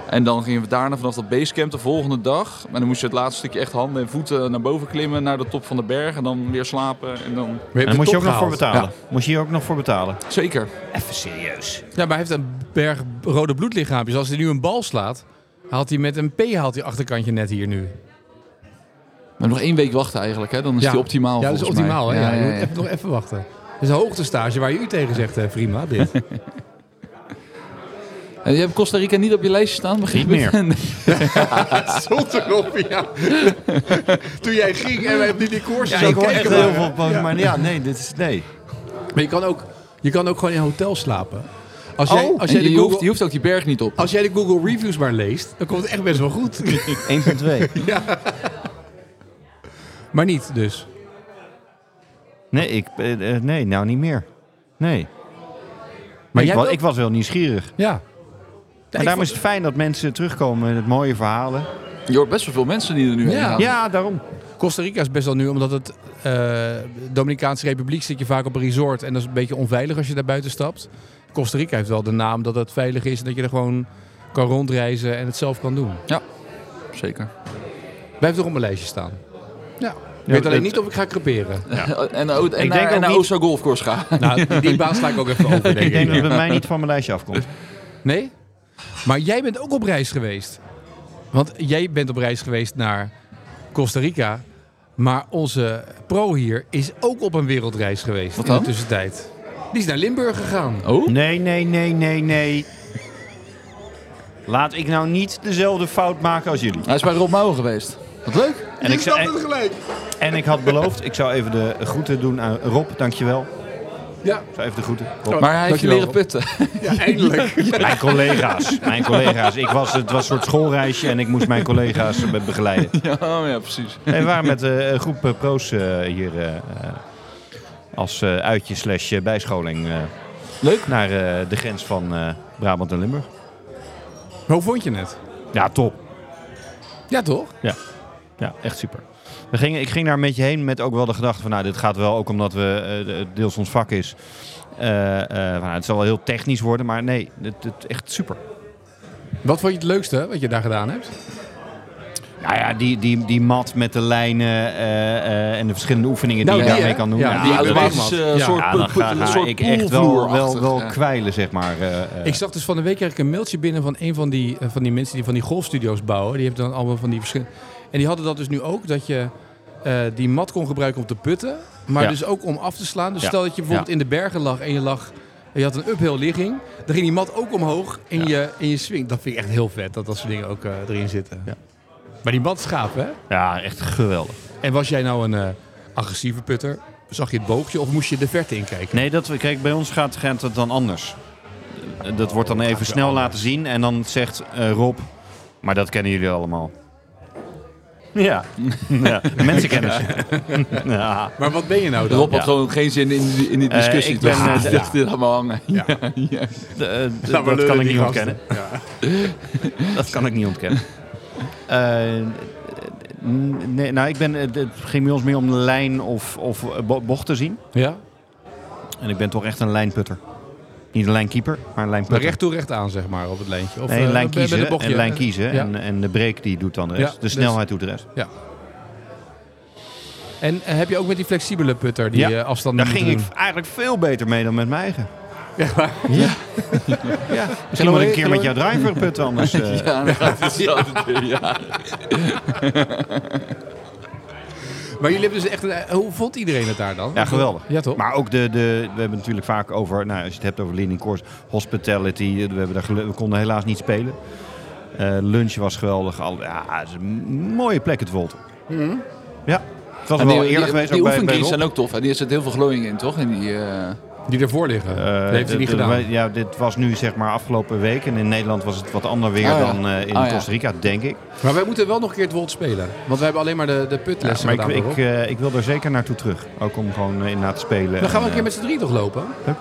Speaker 3: En dan gingen we daarna vanaf dat basecamp de volgende dag. Maar dan moest je het laatste stukje echt handen en voeten naar boven klimmen, naar de top van de berg. En dan weer slapen. En dan...
Speaker 1: Maar
Speaker 4: En daar
Speaker 1: moet
Speaker 4: moest je ook nog voor betalen.
Speaker 3: Ja.
Speaker 4: Moest je hier ook nog voor betalen.
Speaker 3: Zeker.
Speaker 4: Even serieus.
Speaker 1: Ja, maar hij heeft een berg rode bloedlichaampjes. Als hij nu een bal slaat, haalt hij met een P haalt hij achterkantje net hier nu.
Speaker 3: Maar nog één week wachten eigenlijk, hè? dan is die optimaal.
Speaker 1: Ja, dat is
Speaker 3: volgens mij.
Speaker 1: optimaal. Hè? Ja,
Speaker 3: Ja,
Speaker 1: Je
Speaker 3: ja, ja.
Speaker 1: moet even, nog even wachten. Het is een hoogtestage waar je u tegen zegt, eh, prima, dit.
Speaker 3: En je hebt Costa Rica niet op je lijstje staan? begreep
Speaker 4: Niet
Speaker 3: ik?
Speaker 4: meer.
Speaker 3: Nee.
Speaker 1: Stond erop, ja. Toen jij ging en wij op die decors
Speaker 4: Ja, ik hoor echt heel veel boven, maar ja, nee, dit is nee.
Speaker 1: eh, Maar je kan, ook, je kan ook gewoon in een hotel slapen. Als jij,
Speaker 4: Oh,
Speaker 1: als
Speaker 3: En
Speaker 1: jij,
Speaker 3: je,
Speaker 1: de
Speaker 3: hoeft, je
Speaker 1: Google,
Speaker 3: hoeft ook die berg niet op.
Speaker 1: als jij de Google Reviews maar leest, dan komt het echt best wel goed.
Speaker 4: 1.2.
Speaker 1: maar niet dus.
Speaker 4: Nee, ik, eh, eh, nee, nou niet meer. Nee.
Speaker 1: Maar
Speaker 4: Maar ik,
Speaker 1: jij
Speaker 4: wa-
Speaker 1: wil-
Speaker 4: ik was wel nieuwsgierig.
Speaker 1: Ja.
Speaker 4: Maar daarom is het fijn dat mensen terugkomen met mooie verhalen.
Speaker 3: Je hoort best wel veel mensen die er
Speaker 1: Ja.
Speaker 3: nu heen gaan.
Speaker 4: Ja, daarom.
Speaker 1: Costa Rica is best wel nu, omdat het eh, Dominicaanse Republiek zit je vaak op een resort en dat is een beetje onveilig als je daar buiten stapt. Costa Rica heeft wel de naam dat het veilig is en dat je er gewoon kan rondreizen en het zelf kan doen.
Speaker 3: Zeker.
Speaker 1: Wij hebben toch op mijn lijstje staan. Ja. Ik
Speaker 4: Ja,
Speaker 1: weet alleen
Speaker 4: het-
Speaker 1: niet of ik ga creperen.
Speaker 3: En, en, en
Speaker 4: denk
Speaker 3: naar, en
Speaker 4: ook
Speaker 3: naar
Speaker 4: niet-
Speaker 3: Osa Golfcourse gaan.
Speaker 1: nou, die, die baan sla ik ook even over,
Speaker 4: Ik
Speaker 1: denk
Speaker 4: denk dat
Speaker 1: ik.
Speaker 4: het bij mij niet van mijn lijstje afkomt.
Speaker 1: Nee? Maar jij bent ook op reis geweest. Want jij bent op reis geweest naar Costa Rica. Maar onze pro hier is ook op een wereldreis geweest
Speaker 3: Wat
Speaker 1: in de
Speaker 3: dan?
Speaker 1: tussentijd. Die is naar Limburg gegaan.
Speaker 3: Oh?
Speaker 4: Nee, nee, nee, nee, nee. Laat ik nou niet dezelfde fout maken als jullie.
Speaker 3: Hij is bij Rob Mouwen geweest. Wat leuk.
Speaker 4: En ik, zei- en,
Speaker 1: gelijk.
Speaker 4: en ik had beloofd, ik zou even de groeten doen aan Rob, dankjewel.
Speaker 1: Ja.
Speaker 4: Ik zou even de groeten. Rob.
Speaker 3: Maar hij heeft je
Speaker 1: dankjewel,
Speaker 3: leren
Speaker 1: Rob.
Speaker 3: putten.
Speaker 1: Ja, eindelijk.
Speaker 4: Mijn collega's, mijn collega's. Ik was, het was een soort schoolreisje en ik moest mijn collega's be- begeleiden.
Speaker 3: Ja, oh ja precies.
Speaker 4: Nee, we waren met eh, een groep eh, pro's eh, hier eh, eh, als eh, uitje slash eh, bijscholing eh,
Speaker 3: Leuk.
Speaker 4: naar eh, de grens van eh, Brabant en Limburg.
Speaker 1: Hoe vond je het?
Speaker 4: Ja, top.
Speaker 1: Ja, toch?
Speaker 4: Ja, echt super. We gingen, ik ging daar een beetje heen met ook wel de gedachte van, nou, dit gaat wel ook omdat we eh, de- het deels ons vak is. Eh, eh, van, nou, het zal wel heel technisch worden, maar nee, het, het echt super.
Speaker 1: Wat vond je het leukste wat je daar gedaan hebt?
Speaker 4: Nou ja, die, die, die mat met de lijnen eh, eh, en de verschillende oefeningen
Speaker 1: Nou,
Speaker 4: die je
Speaker 1: die,
Speaker 4: daarmee
Speaker 1: hè?
Speaker 4: kan doen.
Speaker 1: Ja,
Speaker 4: Ja,
Speaker 3: Die
Speaker 1: dat
Speaker 4: dat-
Speaker 1: automatische, weet ik,
Speaker 3: automatisch eh,
Speaker 1: man.
Speaker 3: soort,
Speaker 4: ja, dan
Speaker 3: poel-
Speaker 4: ga,
Speaker 3: een
Speaker 4: ga
Speaker 3: soort
Speaker 4: ik echt wel, wel,
Speaker 3: poolvloerachtig,
Speaker 4: wel
Speaker 3: ja.
Speaker 4: kwijlen, zeg maar. eh, eh.
Speaker 1: Ik zag dus van de week kreeg ik een mailtje binnen van een van die, eh, van die mensen die van die golfstudio's bouwen. Die hebben dan allemaal van die verschillende. En die hadden dat dus nu ook, dat je eh, die mat kon gebruiken om te putten. Maar
Speaker 4: Ja.
Speaker 1: dus ook om af te slaan. Dus
Speaker 4: Ja.
Speaker 1: stel dat je bijvoorbeeld in de bergen lag en je lag. en Je had een uphill ligging. Dan ging die mat ook omhoog in,
Speaker 4: Ja.
Speaker 1: je, in je swing. Dat vind ik echt heel vet, dat dat soort dingen ook eh, erin zitten.
Speaker 4: Ja.
Speaker 1: Maar die mat is gaaf, hè?
Speaker 4: ja, echt geweldig.
Speaker 1: En was jij nou een eh, agressieve putter? Zag je het boogje of moest je de verte inkijken?
Speaker 4: Nee, dat, we- kijk, bij ons gaat, gaat het dan anders. Eh, Dat wordt dan even snel laten zien en dan zegt eh, Rob, maar dat kennen jullie allemaal. Ja, ja. mensenkennis. ja.
Speaker 1: Maar wat ben je nou dan?
Speaker 3: Rob had
Speaker 4: Ja.
Speaker 3: gewoon geen zin in die, in die
Speaker 4: Eh,
Speaker 3: discussie.
Speaker 4: ik ben,
Speaker 3: toch?
Speaker 4: eh,
Speaker 3: Hij
Speaker 4: ja.
Speaker 3: dacht, dit allemaal hangen.
Speaker 1: Ja.
Speaker 3: ja.
Speaker 4: Eh, d-
Speaker 1: Laat maar
Speaker 4: dat
Speaker 1: lullen,
Speaker 4: kan ik
Speaker 1: die
Speaker 4: niet
Speaker 1: gasten.
Speaker 4: ontkennen. dat kan ik niet ontkennen. Eh, eh, n- nee, nou, ik ben, eh, het ging bij ons meer om de lijn of, of eh, bo- bocht te zien.
Speaker 1: Ja?
Speaker 4: En ik ben toch echt een lijnputter. Niet een lijnkeeper, maar een
Speaker 1: Maar
Speaker 4: lijnputter.
Speaker 1: recht toe, recht aan, zeg maar, op het lijntje. Of,
Speaker 4: nee,
Speaker 1: eh,
Speaker 4: een lijn
Speaker 1: bij- bij
Speaker 4: kiezen,
Speaker 1: de bochtje.
Speaker 4: en lijn kiezen.
Speaker 1: Ja.
Speaker 4: En, en de break die doet dan de
Speaker 1: Ja,
Speaker 4: rest. de
Speaker 1: dus-
Speaker 4: snelheid doet de rest.
Speaker 1: En eh, heb je ook met die flexibele putter die
Speaker 4: Ja.
Speaker 1: eh, afstanden
Speaker 4: Daar
Speaker 1: moet
Speaker 4: ging ik
Speaker 1: doen?
Speaker 4: eigenlijk veel beter mee dan met mijn eigen.
Speaker 1: Ja, maar-
Speaker 4: Ja. Misschien moet ik een keer met jouw driver putten anders. eh.
Speaker 3: Ja, dan gaat het zo. Ja.
Speaker 1: Maar jullie hebben dus echt... een- hoe vond iedereen het daar dan?
Speaker 4: Ja, geweldig.
Speaker 1: Ja, toch?
Speaker 4: Maar ook de, de, we hebben het natuurlijk vaak over, nou, als je het hebt over leading course, hospitality. eh, We, hebben daar gelu- we konden helaas niet spelen. Eh, lunch was geweldig. Al, ja, het is een mooie plek het Volt.
Speaker 1: Mhm.
Speaker 4: Ja, het was
Speaker 3: En
Speaker 4: wel
Speaker 3: die-
Speaker 4: eerder
Speaker 3: die-
Speaker 4: geweest
Speaker 3: Die
Speaker 4: ook bij, bij
Speaker 3: oefenkings
Speaker 4: Rob.
Speaker 3: zijn ook tof. hè? Die zit heel veel glooiing in, toch? In die, eh,
Speaker 1: Die ervoor liggen.
Speaker 4: Eh,
Speaker 1: dat heeft hij
Speaker 4: dit-
Speaker 1: niet
Speaker 4: dit-
Speaker 1: gedaan.
Speaker 4: wij- Ja, dit was nu zeg maar afgelopen week. En in Nederland was het wat ander weer
Speaker 1: Ah,
Speaker 3: Oh ja.
Speaker 4: dan eh, in
Speaker 3: Oh ja.
Speaker 4: Costa Rica, denk ik.
Speaker 1: Maar wij moeten wel nog een keer het Wold spelen. Want we hebben alleen maar de, de putlessen
Speaker 4: maar ik,
Speaker 1: gedaan.
Speaker 4: ik,
Speaker 1: Rob.
Speaker 4: eh, ik wil er zeker naartoe terug. Ook om gewoon eh, in na te spelen.
Speaker 1: dan gaan we
Speaker 4: En,
Speaker 1: een keer
Speaker 4: eh,
Speaker 1: met z'n drieën toch lopen?
Speaker 4: Leuk.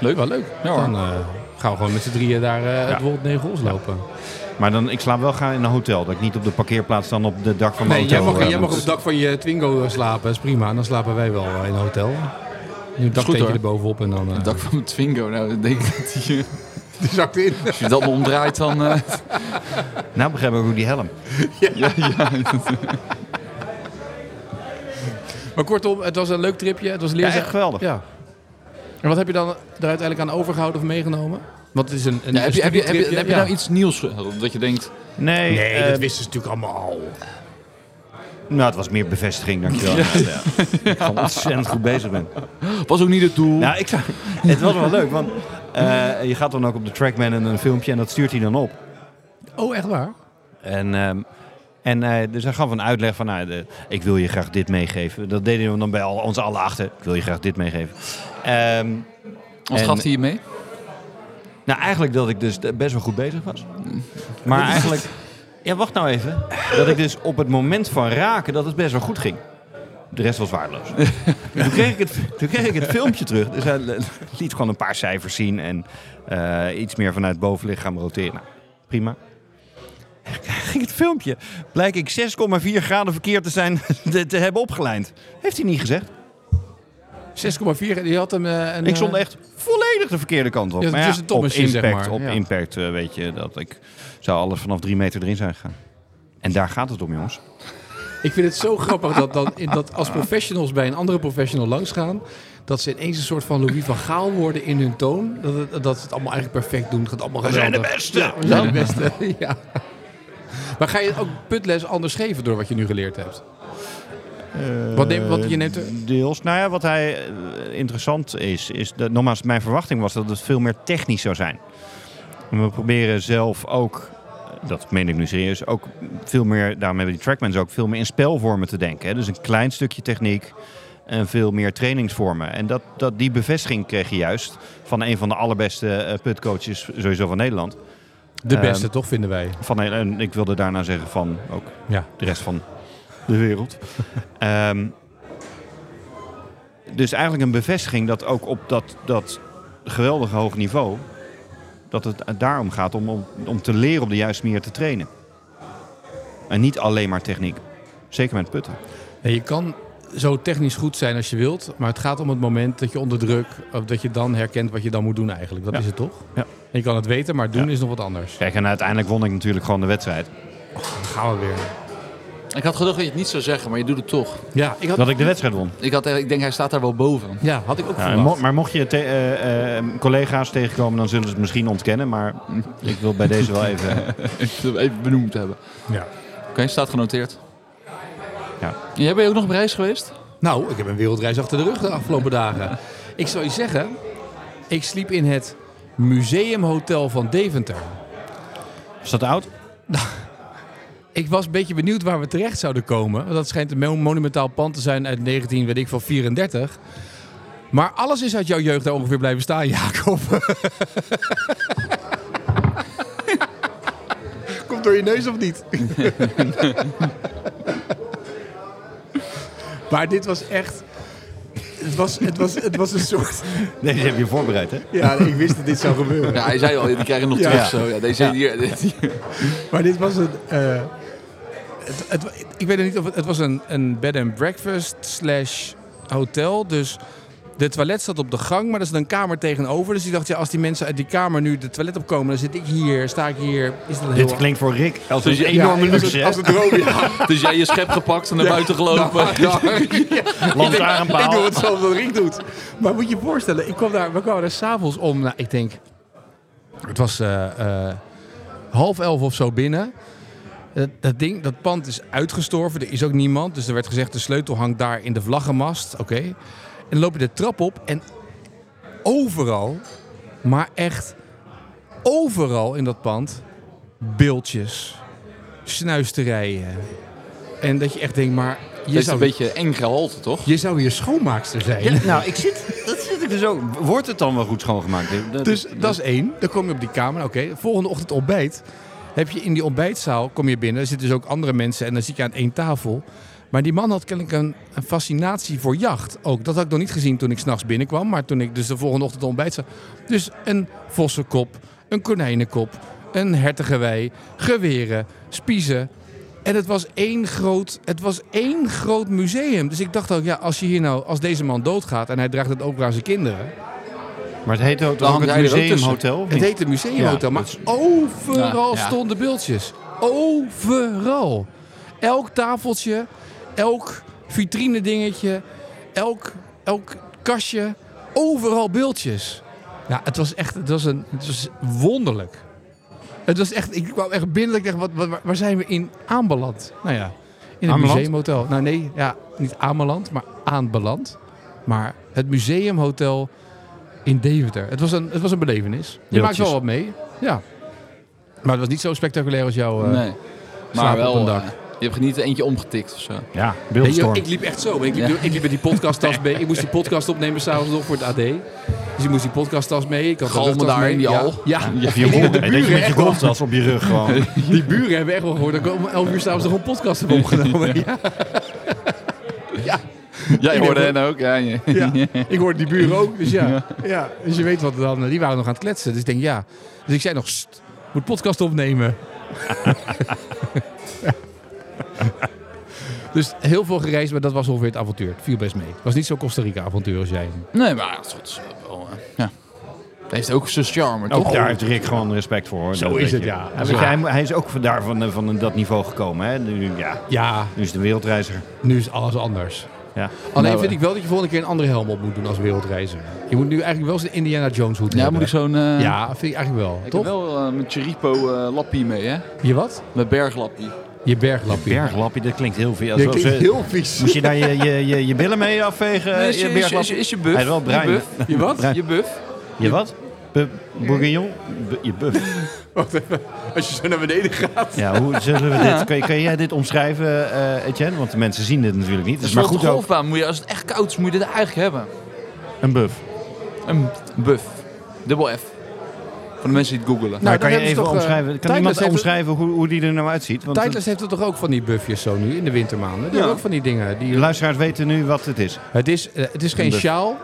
Speaker 1: Leuk. Wel leuk.
Speaker 3: Ja, hoor.
Speaker 1: dan eh, gaan we gewoon met z'n drieën daar eh, het
Speaker 4: Ja.
Speaker 1: Wold 9 ons lopen.
Speaker 4: eh, Maar dan, ik slaap wel gaan in een hotel. Dat ik niet op de parkeerplaats dan op de dak van mijn
Speaker 1: Nee, jij
Speaker 4: hotel...
Speaker 1: mag,
Speaker 4: eh,
Speaker 1: jij
Speaker 4: moet.
Speaker 1: mag op het dak van je Twingo slapen. Dat is prima. En dan slapen wij wel eh, in een hotel. Nu een dakteentje
Speaker 3: hoor.
Speaker 1: erbovenop en dan... eh,
Speaker 3: Het dak van mijn Twingo, nou, ik denk dat die, eh,
Speaker 1: die zakt in.
Speaker 3: als je dat nog omdraait, dan... eh,
Speaker 4: Nou begrijp ik ook die helm.
Speaker 3: ja, ja.
Speaker 1: Maar kortom, het was een leuk tripje. Het was
Speaker 4: Ja,
Speaker 1: leerzaam.
Speaker 4: echt geweldig.
Speaker 1: Ja. En wat heb je dan er uiteindelijk aan overgehouden of meegenomen? Want het is een, een
Speaker 3: Ja, heb, je, heb, je, heb, je,
Speaker 1: studietripje.
Speaker 3: heb je
Speaker 1: Ja.
Speaker 3: nou iets nieuws eh, dat je denkt...
Speaker 4: Nee,
Speaker 1: Nee,
Speaker 4: eh,
Speaker 1: dat wisten ze natuurlijk allemaal al.
Speaker 4: nou, het was meer bevestiging, dankjewel. Ja. Ja. Ik gewoon ontzettend goed bezig ben.
Speaker 3: Was ook niet het doel.
Speaker 4: Nou, ik zou, het was wel leuk, want eh, je gaat dan ook op de Trackman en een filmpje en dat stuurt hij dan op.
Speaker 1: Oh, echt waar?
Speaker 4: En, ehm, en eh, dus hij gaf een uitleg van, nou, de- ik wil je graag dit meegeven. Dat deden we dan bij al, ons alle achter. Ik wil je graag dit meegeven. Ehm,
Speaker 3: Wat
Speaker 4: en-
Speaker 3: gaf hij je mee?
Speaker 4: nou, eigenlijk dat ik dus best wel goed bezig was. Maar eigenlijk, ja, wacht nou even. Dat ik dus op het moment van raken dat het best wel goed ging. De rest was waardeloos. toen, kreeg ik het, toen kreeg ik het filmpje terug. Dus hij liet gewoon een paar cijfers zien en eh, iets meer vanuit het bovenlichaam roteren. Nou, prima. Ging het filmpje. Blijk ik 6,4 graden verkeerd te zijn, te, te hebben opgelijnd. Heeft hij niet gezegd.
Speaker 1: 6,4. Die had hem eh, een...
Speaker 4: Ik stond
Speaker 1: eh,
Speaker 4: echt volledig de verkeerde kant op.
Speaker 1: Ja,
Speaker 4: maar ja,
Speaker 1: tussen Tom
Speaker 4: op
Speaker 1: en Shin,
Speaker 4: impact,
Speaker 1: zeg maar.
Speaker 4: op
Speaker 1: Ja.
Speaker 4: impact eh, weet je dat ik zou alles vanaf drie meter erin zijn gegaan. En daar gaat het om, jongens.
Speaker 1: Ik vind het zo grappig dat, dan, in- dat als professionals bij een andere professional langsgaan... dat ze ineens een soort van Louis van Gaal worden in hun toon. Dat, het- dat ze het allemaal eigenlijk perfect doen. Het gaat allemaal geweldig.
Speaker 4: beste.
Speaker 1: We zijn de beste, ja. Maar ga je ook putles anders geven door wat je nu geleerd hebt? Wat neem- wat je neemt er-
Speaker 4: Eh, Deels. Nou ja, wat hij eh, interessant is, is dat, nogmaals, mijn verwachting was dat het veel meer technisch zou zijn. En we proberen zelf ook, eh, dat meen ik nu serieus, ook veel meer, daarom hebben die trackmans ook veel meer in spelvormen te denken. Hè. Dus een klein stukje techniek en veel meer trainingsvormen. En dat, dat, die bevestiging kreeg je juist van een van de allerbeste eh, putcoaches sowieso van Nederland.
Speaker 1: De
Speaker 4: Ehm,
Speaker 1: beste, toch, vinden wij.
Speaker 4: Van, en ik wilde daarna zeggen van ook
Speaker 1: Ja.
Speaker 4: de rest van de wereld. Ehm, dus eigenlijk een bevestiging dat ook op dat, dat geweldige hoog niveau... dat het daarom gaat om, om, om te leren op de juiste manier te trainen. En niet alleen maar techniek. Zeker met putten.
Speaker 1: Ja, je kan zo technisch goed zijn als je wilt, maar het gaat om het moment dat je onder druk, of dat je dan herkent wat je dan moet doen eigenlijk. Dat
Speaker 4: Ja.
Speaker 1: is het toch?
Speaker 4: Ja.
Speaker 1: Je kan het weten, maar doen
Speaker 4: Ja.
Speaker 1: is nog wat anders.
Speaker 4: Kijk, en uiteindelijk won ik natuurlijk gewoon de wedstrijd.
Speaker 1: Dan gaan we weer.
Speaker 3: Ik had gedacht dat je het niet zou zeggen, maar je doet het toch.
Speaker 1: Ja, ik had,
Speaker 4: Dat ik de wedstrijd won.
Speaker 3: Ik, had, ik denk, hij staat daar wel boven.
Speaker 1: ja, had ik ook
Speaker 4: Ja, en
Speaker 1: verwacht.
Speaker 4: mo- maar mocht je te- eh, eh, collega's tegenkomen, dan zullen ze het misschien ontkennen. Maar ik wil bij deze wel even...
Speaker 3: Even benoemd hebben.
Speaker 1: Ja.
Speaker 3: Oké, staat genoteerd.
Speaker 4: Ja.
Speaker 3: Jij bent ook nog op reis geweest?
Speaker 1: Nou, ik heb een wereldreis achter de rug de afgelopen dagen. Ik zou je zeggen, ik sliep in het Museumhotel van Deventer.
Speaker 4: Is dat oud?
Speaker 1: Ik was een beetje benieuwd waar we terecht zouden komen. Want dat schijnt een mo- monumentaal pand te zijn uit 19, weet ik van 34. Maar alles is uit jouw jeugd daar ongeveer blijven staan, Jacob. Komt door je neus of niet? maar dit was echt... Het was, het, was, het was een soort...
Speaker 4: Nee, die heb je voorbereid, hè?
Speaker 1: Ja, ik wist dat dit zou gebeuren.
Speaker 3: Ja, hij zei al, die krijgen nog
Speaker 1: Ja.
Speaker 3: terug. Zo. Ja, deze hier. dit- hier.
Speaker 1: Maar dit was een. eh, het, het, ik weet het niet of het, het was een, een bed and breakfast slash hotel. Dus de toilet zat op de gang, maar er zat een kamer tegenover. Dus ik dacht, ja, als die mensen uit die kamer nu de toilet opkomen, dan zit ik hier, sta ik hier. Is dat heel
Speaker 4: Dit klinkt voor Rick als
Speaker 3: Dus
Speaker 4: een
Speaker 3: je-
Speaker 4: enorme
Speaker 1: ja, als
Speaker 4: luxe,
Speaker 1: het-
Speaker 4: hè?
Speaker 1: als het droom, ja.
Speaker 3: Dus jij je schep gepakt en naar buiten gelopen.
Speaker 1: Ik
Speaker 4: Lantaarnpaal.
Speaker 1: doe hetzelfde wat Rick doet. Maar moet je je voorstellen, ik kwam daar, we kwamen daar s'avonds om, nou, ik denk, het was eh, eh, half elf of zo binnen. Dat, dat ding, dat pand is uitgestorven, er is ook niemand. Dus er werd gezegd, de sleutel hangt daar in de vlaggenmast. Oké. En dan loop je de trap op en overal, maar echt overal in dat pand, beeldjes, snuisterijen. En dat je echt denkt, maar je
Speaker 3: Dit is een
Speaker 1: zou,
Speaker 3: beetje eng gehalte, toch?
Speaker 1: je zou hier schoonmaakster zijn.
Speaker 4: Nou, ik zit, dat zit ik dus ook, wordt het dan wel goed schoongemaakt? Dat-
Speaker 1: Dus dat is één. Dan kom je op die kamer. Oké, volgende ochtend ontbijt. Heb je in die ontbijtzaal, kom je binnen. Er zitten dus ook andere mensen en dan zit je aan één tafel. Maar die man had kennelijk een, een fascinatie voor jacht. Ook dat had ik nog niet gezien toen ik s'nachts binnenkwam. Maar toen ik dus de volgende ochtend ontbijt zag. Dus een vossenkop, een konijnenkop, een hertigewei, geweren, spiezen. En het was één groot, het was één groot museum. Dus ik dacht ook, ja, als, je hier nou, als deze man doodgaat en hij draagt het ook aan zijn kinderen.
Speaker 4: Maar het heet ook,
Speaker 3: Dan
Speaker 4: ook
Speaker 3: hangt
Speaker 4: het
Speaker 3: hij er ook tussen.
Speaker 4: museumhotel? of
Speaker 1: Het
Speaker 4: niet?
Speaker 1: heet het Museumhotel,
Speaker 4: Ja,
Speaker 1: maar
Speaker 4: dat
Speaker 1: overal
Speaker 3: Ja, ja.
Speaker 1: stonden beeldjes. Overal. Elk tafeltje, elk vitrine dingetje, elk, elk kastje, overal beeldjes. Ja, het was echt het was een, het was wonderlijk. Het was echt, ik kwam echt binnen ik dacht, wat, wat, waar zijn we in aanbeland? Nou ja, in het
Speaker 4: Ameland?
Speaker 1: Museumhotel. Nou nee, ja, niet aanbeland, maar aanbeland. Maar het Museumhotel in Deventer. Het was een, het was een belevenis. Je maakt wel wat mee. Ja. Maar het was niet zo spectaculair als jouw... eh,
Speaker 3: Nee. Maar
Speaker 1: slapen op
Speaker 3: wel,
Speaker 1: een dak.
Speaker 3: eh, je hebt er niet eentje omgetikt of zo.
Speaker 4: Ja,
Speaker 1: Nee, joh,
Speaker 4: beeldstorm.
Speaker 1: ik liep echt zo. Ik liep,
Speaker 3: Ja.
Speaker 1: ik liep met die podcasttas mee. Ik moest die podcast opnemen s'avonds nog voor het AD. Dus ik moest die podcasttas mee. Ik had een
Speaker 3: Galmen
Speaker 1: rugtas
Speaker 3: daar
Speaker 1: mee.
Speaker 3: in die
Speaker 1: ja.
Speaker 3: hal.
Speaker 1: Ja.
Speaker 4: Of je
Speaker 1: Ik denk
Speaker 4: rol-
Speaker 1: dat de
Speaker 4: en dat je
Speaker 1: buren
Speaker 4: met je
Speaker 1: echt wel-
Speaker 4: golftas op je rug gewoon.
Speaker 1: Die buren hebben echt wel gehoord dat ik om 11 uur s'avonds nog een podcast heb opgenomen. Ja.
Speaker 3: Jij
Speaker 1: hoorde
Speaker 3: hoorde
Speaker 1: hen
Speaker 3: hen ook, ja. ja.
Speaker 1: Ja, ik hoorde die buren ook. Dus ja. ja. Dus je weet wat er dan. Die waren nog aan het kletsen. Dus ik denk ja. Dus ik zei nog, "Sst, moet podcast opnemen. Ja. Dus heel veel gereisd, maar dat was ongeveer het avontuur. Het viel best mee. Het was niet zo'n Costa Rica avontuur als jij.
Speaker 3: Nee, maar dat is goed. Wel, eh, Ja. Dat heeft ook zijn charme, toch?
Speaker 4: Ook daar heeft Rick gewoon respect voor. Hoor.
Speaker 1: Zo
Speaker 4: Dat
Speaker 1: is
Speaker 4: weet
Speaker 1: het,
Speaker 4: je.
Speaker 1: ja.
Speaker 4: weet je, Dus hij, hij is ook van daar van, eh, van dat niveau gekomen. Hè. Nu, ja,
Speaker 1: Ja,
Speaker 4: nu is de wereldreiziger.
Speaker 1: nu is alles anders.
Speaker 4: Ja.
Speaker 1: Alleen
Speaker 3: Nou,
Speaker 1: vind
Speaker 3: eh.
Speaker 1: ik wel dat je volgende keer een andere helm op moet doen als wereldreiziger. Je moet nu eigenlijk wel eens een Indiana Jones hoed
Speaker 3: Ja,
Speaker 1: hebben.
Speaker 3: moet ik zo'n... eh,
Speaker 1: Ja, vind ik eigenlijk wel.
Speaker 3: Ik
Speaker 1: Toch?
Speaker 3: heb wel eh, mijn Chiripo eh, lappie mee, hè?
Speaker 1: Je wat?
Speaker 3: Mijn berglappie.
Speaker 1: Je berglapje.
Speaker 4: Berglapje, dat klinkt heel veel.
Speaker 1: Dat klinkt heel vies.
Speaker 4: Moest je daar je, je, je, je billen mee afvegen? eh,
Speaker 3: Nee, is,
Speaker 4: je
Speaker 3: je, is, je- is, je-
Speaker 4: berglapje?
Speaker 3: is je buff?
Speaker 4: Hij is wel bruin.
Speaker 3: Je buff? Je wat?
Speaker 4: Bruin.
Speaker 3: Je buff?
Speaker 4: Je wat? Bu- Bourguignon? Bu- Je buff.
Speaker 1: Als je zo naar beneden gaat.
Speaker 4: Ja, hoe zullen we dit... Kun, kun jij dit omschrijven, eh, Etienne? Want de mensen zien dit natuurlijk niet.
Speaker 3: Dus
Speaker 4: Dus maar goed ook.
Speaker 3: golfbaan moet je, als het echt koud is, moet je dit eigenlijk hebben.
Speaker 4: Een buff.
Speaker 1: Nou,
Speaker 3: Een buff. Dubbel F. Voor de mensen die het googelen.
Speaker 1: Nou,
Speaker 4: Nou,
Speaker 1: dan
Speaker 4: kan je
Speaker 1: hebben ze toch,
Speaker 4: even
Speaker 1: eh,
Speaker 4: omschrijven, kan
Speaker 1: Tijdless
Speaker 4: iemand
Speaker 1: heeft-
Speaker 4: omschrijven hoe, hoe die er nou uitziet? Want
Speaker 1: Tijdless heeft er toch ook van die buffjes zo nu in de wintermaanden? Die hebben ook van die dingen.
Speaker 4: de
Speaker 1: Die,
Speaker 4: luisteraars weten nu wat het is.
Speaker 1: het, is, eh, het is geen
Speaker 4: Een buff.
Speaker 1: sjaal.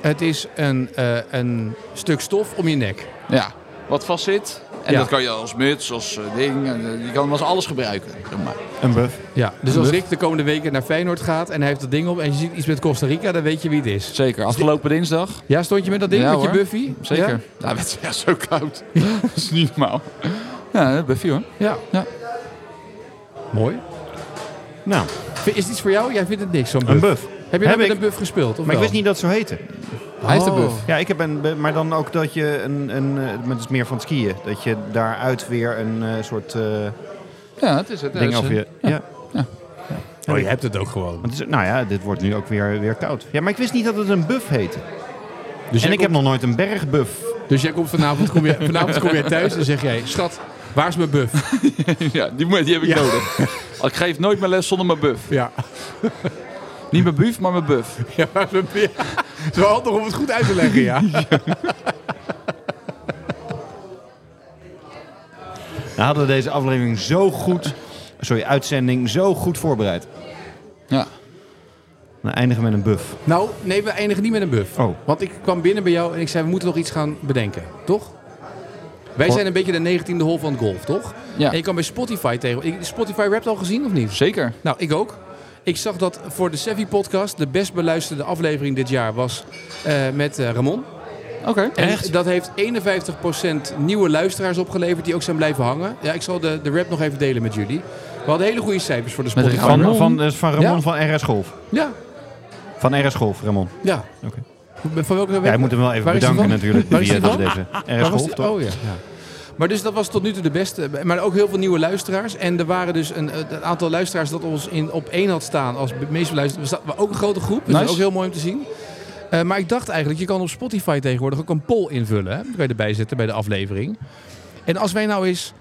Speaker 1: Het is een, eh, een stuk stof om je nek.
Speaker 3: Ja, wat vast zit. En
Speaker 1: Ja.
Speaker 3: dat kan je als muts, als eh, ding. En, eh, je kan hem als alles gebruiken. Zeg maar.
Speaker 4: Een buff.
Speaker 1: Ja. Dus als
Speaker 3: buff.
Speaker 1: Rick de komende weken naar Feyenoord gaat en hij heeft dat ding op en je ziet iets met Costa Rica, dan weet je wie het is.
Speaker 3: Zeker. Afgelopen dinsdag.
Speaker 1: Ja, stond je met dat ding,
Speaker 3: Ja,
Speaker 1: met je
Speaker 3: hoor.
Speaker 1: buffy?
Speaker 3: Zeker.
Speaker 1: Ja?
Speaker 3: Ja, Nou, dat werd ja, zo koud. dat is niet normaal. Ja, dat buffie hoor.
Speaker 1: Ja.
Speaker 3: Ja.
Speaker 1: Mooi.
Speaker 4: Nou,
Speaker 1: V- Is het iets voor jou? Jij vindt het niks, zo'n buff.
Speaker 4: een buff.
Speaker 1: Heb je nou
Speaker 4: Heb
Speaker 1: met
Speaker 4: ik.
Speaker 1: een buff gespeeld? Of
Speaker 4: Maar ik
Speaker 1: wel?
Speaker 4: wist niet dat het zo heette.
Speaker 1: Hij heeft een
Speaker 3: Oh.
Speaker 1: buff.
Speaker 4: Ja, ik heb een, bu- maar dan ook dat je een, een eh, maar het is meer van het skiën. Dat je daaruit weer een eh, soort eh,
Speaker 3: Ja, dat is het.
Speaker 4: ding
Speaker 3: Dat
Speaker 4: af
Speaker 3: is,
Speaker 4: je. Ja.
Speaker 1: Oh, je hebt het ook gewoon.
Speaker 4: Want het is, nou ja, dit wordt nu ook weer, weer koud. Ja, maar ik wist niet dat het een buff heette.
Speaker 1: Dus
Speaker 4: en
Speaker 1: jij
Speaker 4: ik heb nog nooit een bergbuff.
Speaker 1: Dus jij komt vanavond, kom je, vanavond kom jij thuis en zeg jij, schat, waar is mijn buff?
Speaker 3: eh, ja, die, moet- die heb ik nodig. Ik geef nooit mijn les zonder mijn buff.
Speaker 1: Ja,
Speaker 3: Niet mijn buff, maar mijn buff.
Speaker 1: ja waar is mijn buff? Het is wel handig om het goed uit te leggen, ja.
Speaker 4: We hadden we deze aflevering zo goed, sorry, uitzending zo goed voorbereid.
Speaker 3: Ja.
Speaker 4: Dan eindigen we met een buff.
Speaker 1: Nou, nee, we eindigen niet met een buff.
Speaker 4: Oh.
Speaker 1: Want ik kwam binnen bij jou en ik zei, we moeten nog iets gaan bedenken, toch? Wij
Speaker 4: Wat?
Speaker 1: zijn een beetje de 19e hol van het golf, toch?
Speaker 3: Ja.
Speaker 1: En je kan bij Spotify tegen... ik- Spotify Wrapped al gezien of niet?
Speaker 3: Zeker.
Speaker 1: Nou, ik ook. Ik zag dat voor de Sevi podcast de best beluisterde aflevering dit jaar was eh, met eh, Ramon.
Speaker 3: Oké.
Speaker 1: En dat heeft 51% nieuwe luisteraars opgeleverd die ook zijn blijven hangen. Ja, ik zal de, de rap nog even delen met jullie. We hadden hele goede cijfers voor de
Speaker 3: Met
Speaker 1: Spotify.
Speaker 4: Van,
Speaker 3: Ramon?
Speaker 4: van, dat is van Ramon
Speaker 1: Ja.
Speaker 4: van RS Golf.
Speaker 1: Ja,
Speaker 4: Van RS Golf, Ramon.
Speaker 1: ja.
Speaker 4: Oké.
Speaker 1: Van welke
Speaker 4: Ja,
Speaker 1: web?
Speaker 4: ik moet hem wel even
Speaker 1: Waar is die
Speaker 4: bedanken
Speaker 1: van?
Speaker 4: natuurlijk.
Speaker 1: Waar is
Speaker 4: die,
Speaker 1: die
Speaker 4: eh,
Speaker 1: van?
Speaker 4: deze
Speaker 1: Waar
Speaker 4: RS
Speaker 1: was
Speaker 4: Golf,
Speaker 1: die?
Speaker 4: toch?
Speaker 1: Oh ja. ja. Maar dus dat was tot nu toe de beste. Maar ook heel veel nieuwe luisteraars. En er waren dus een, een aantal luisteraars dat ons in, op één had staan als be- meest beluisterd. We sta- we- Ook een grote groep. Dus dat is
Speaker 3: Nice.
Speaker 1: ook heel mooi om te zien. Eh, maar ik dacht eigenlijk, je kan op Spotify tegenwoordig ook een poll invullen. Hè? Dat kan je erbij zetten bij de aflevering. En als wij nou eens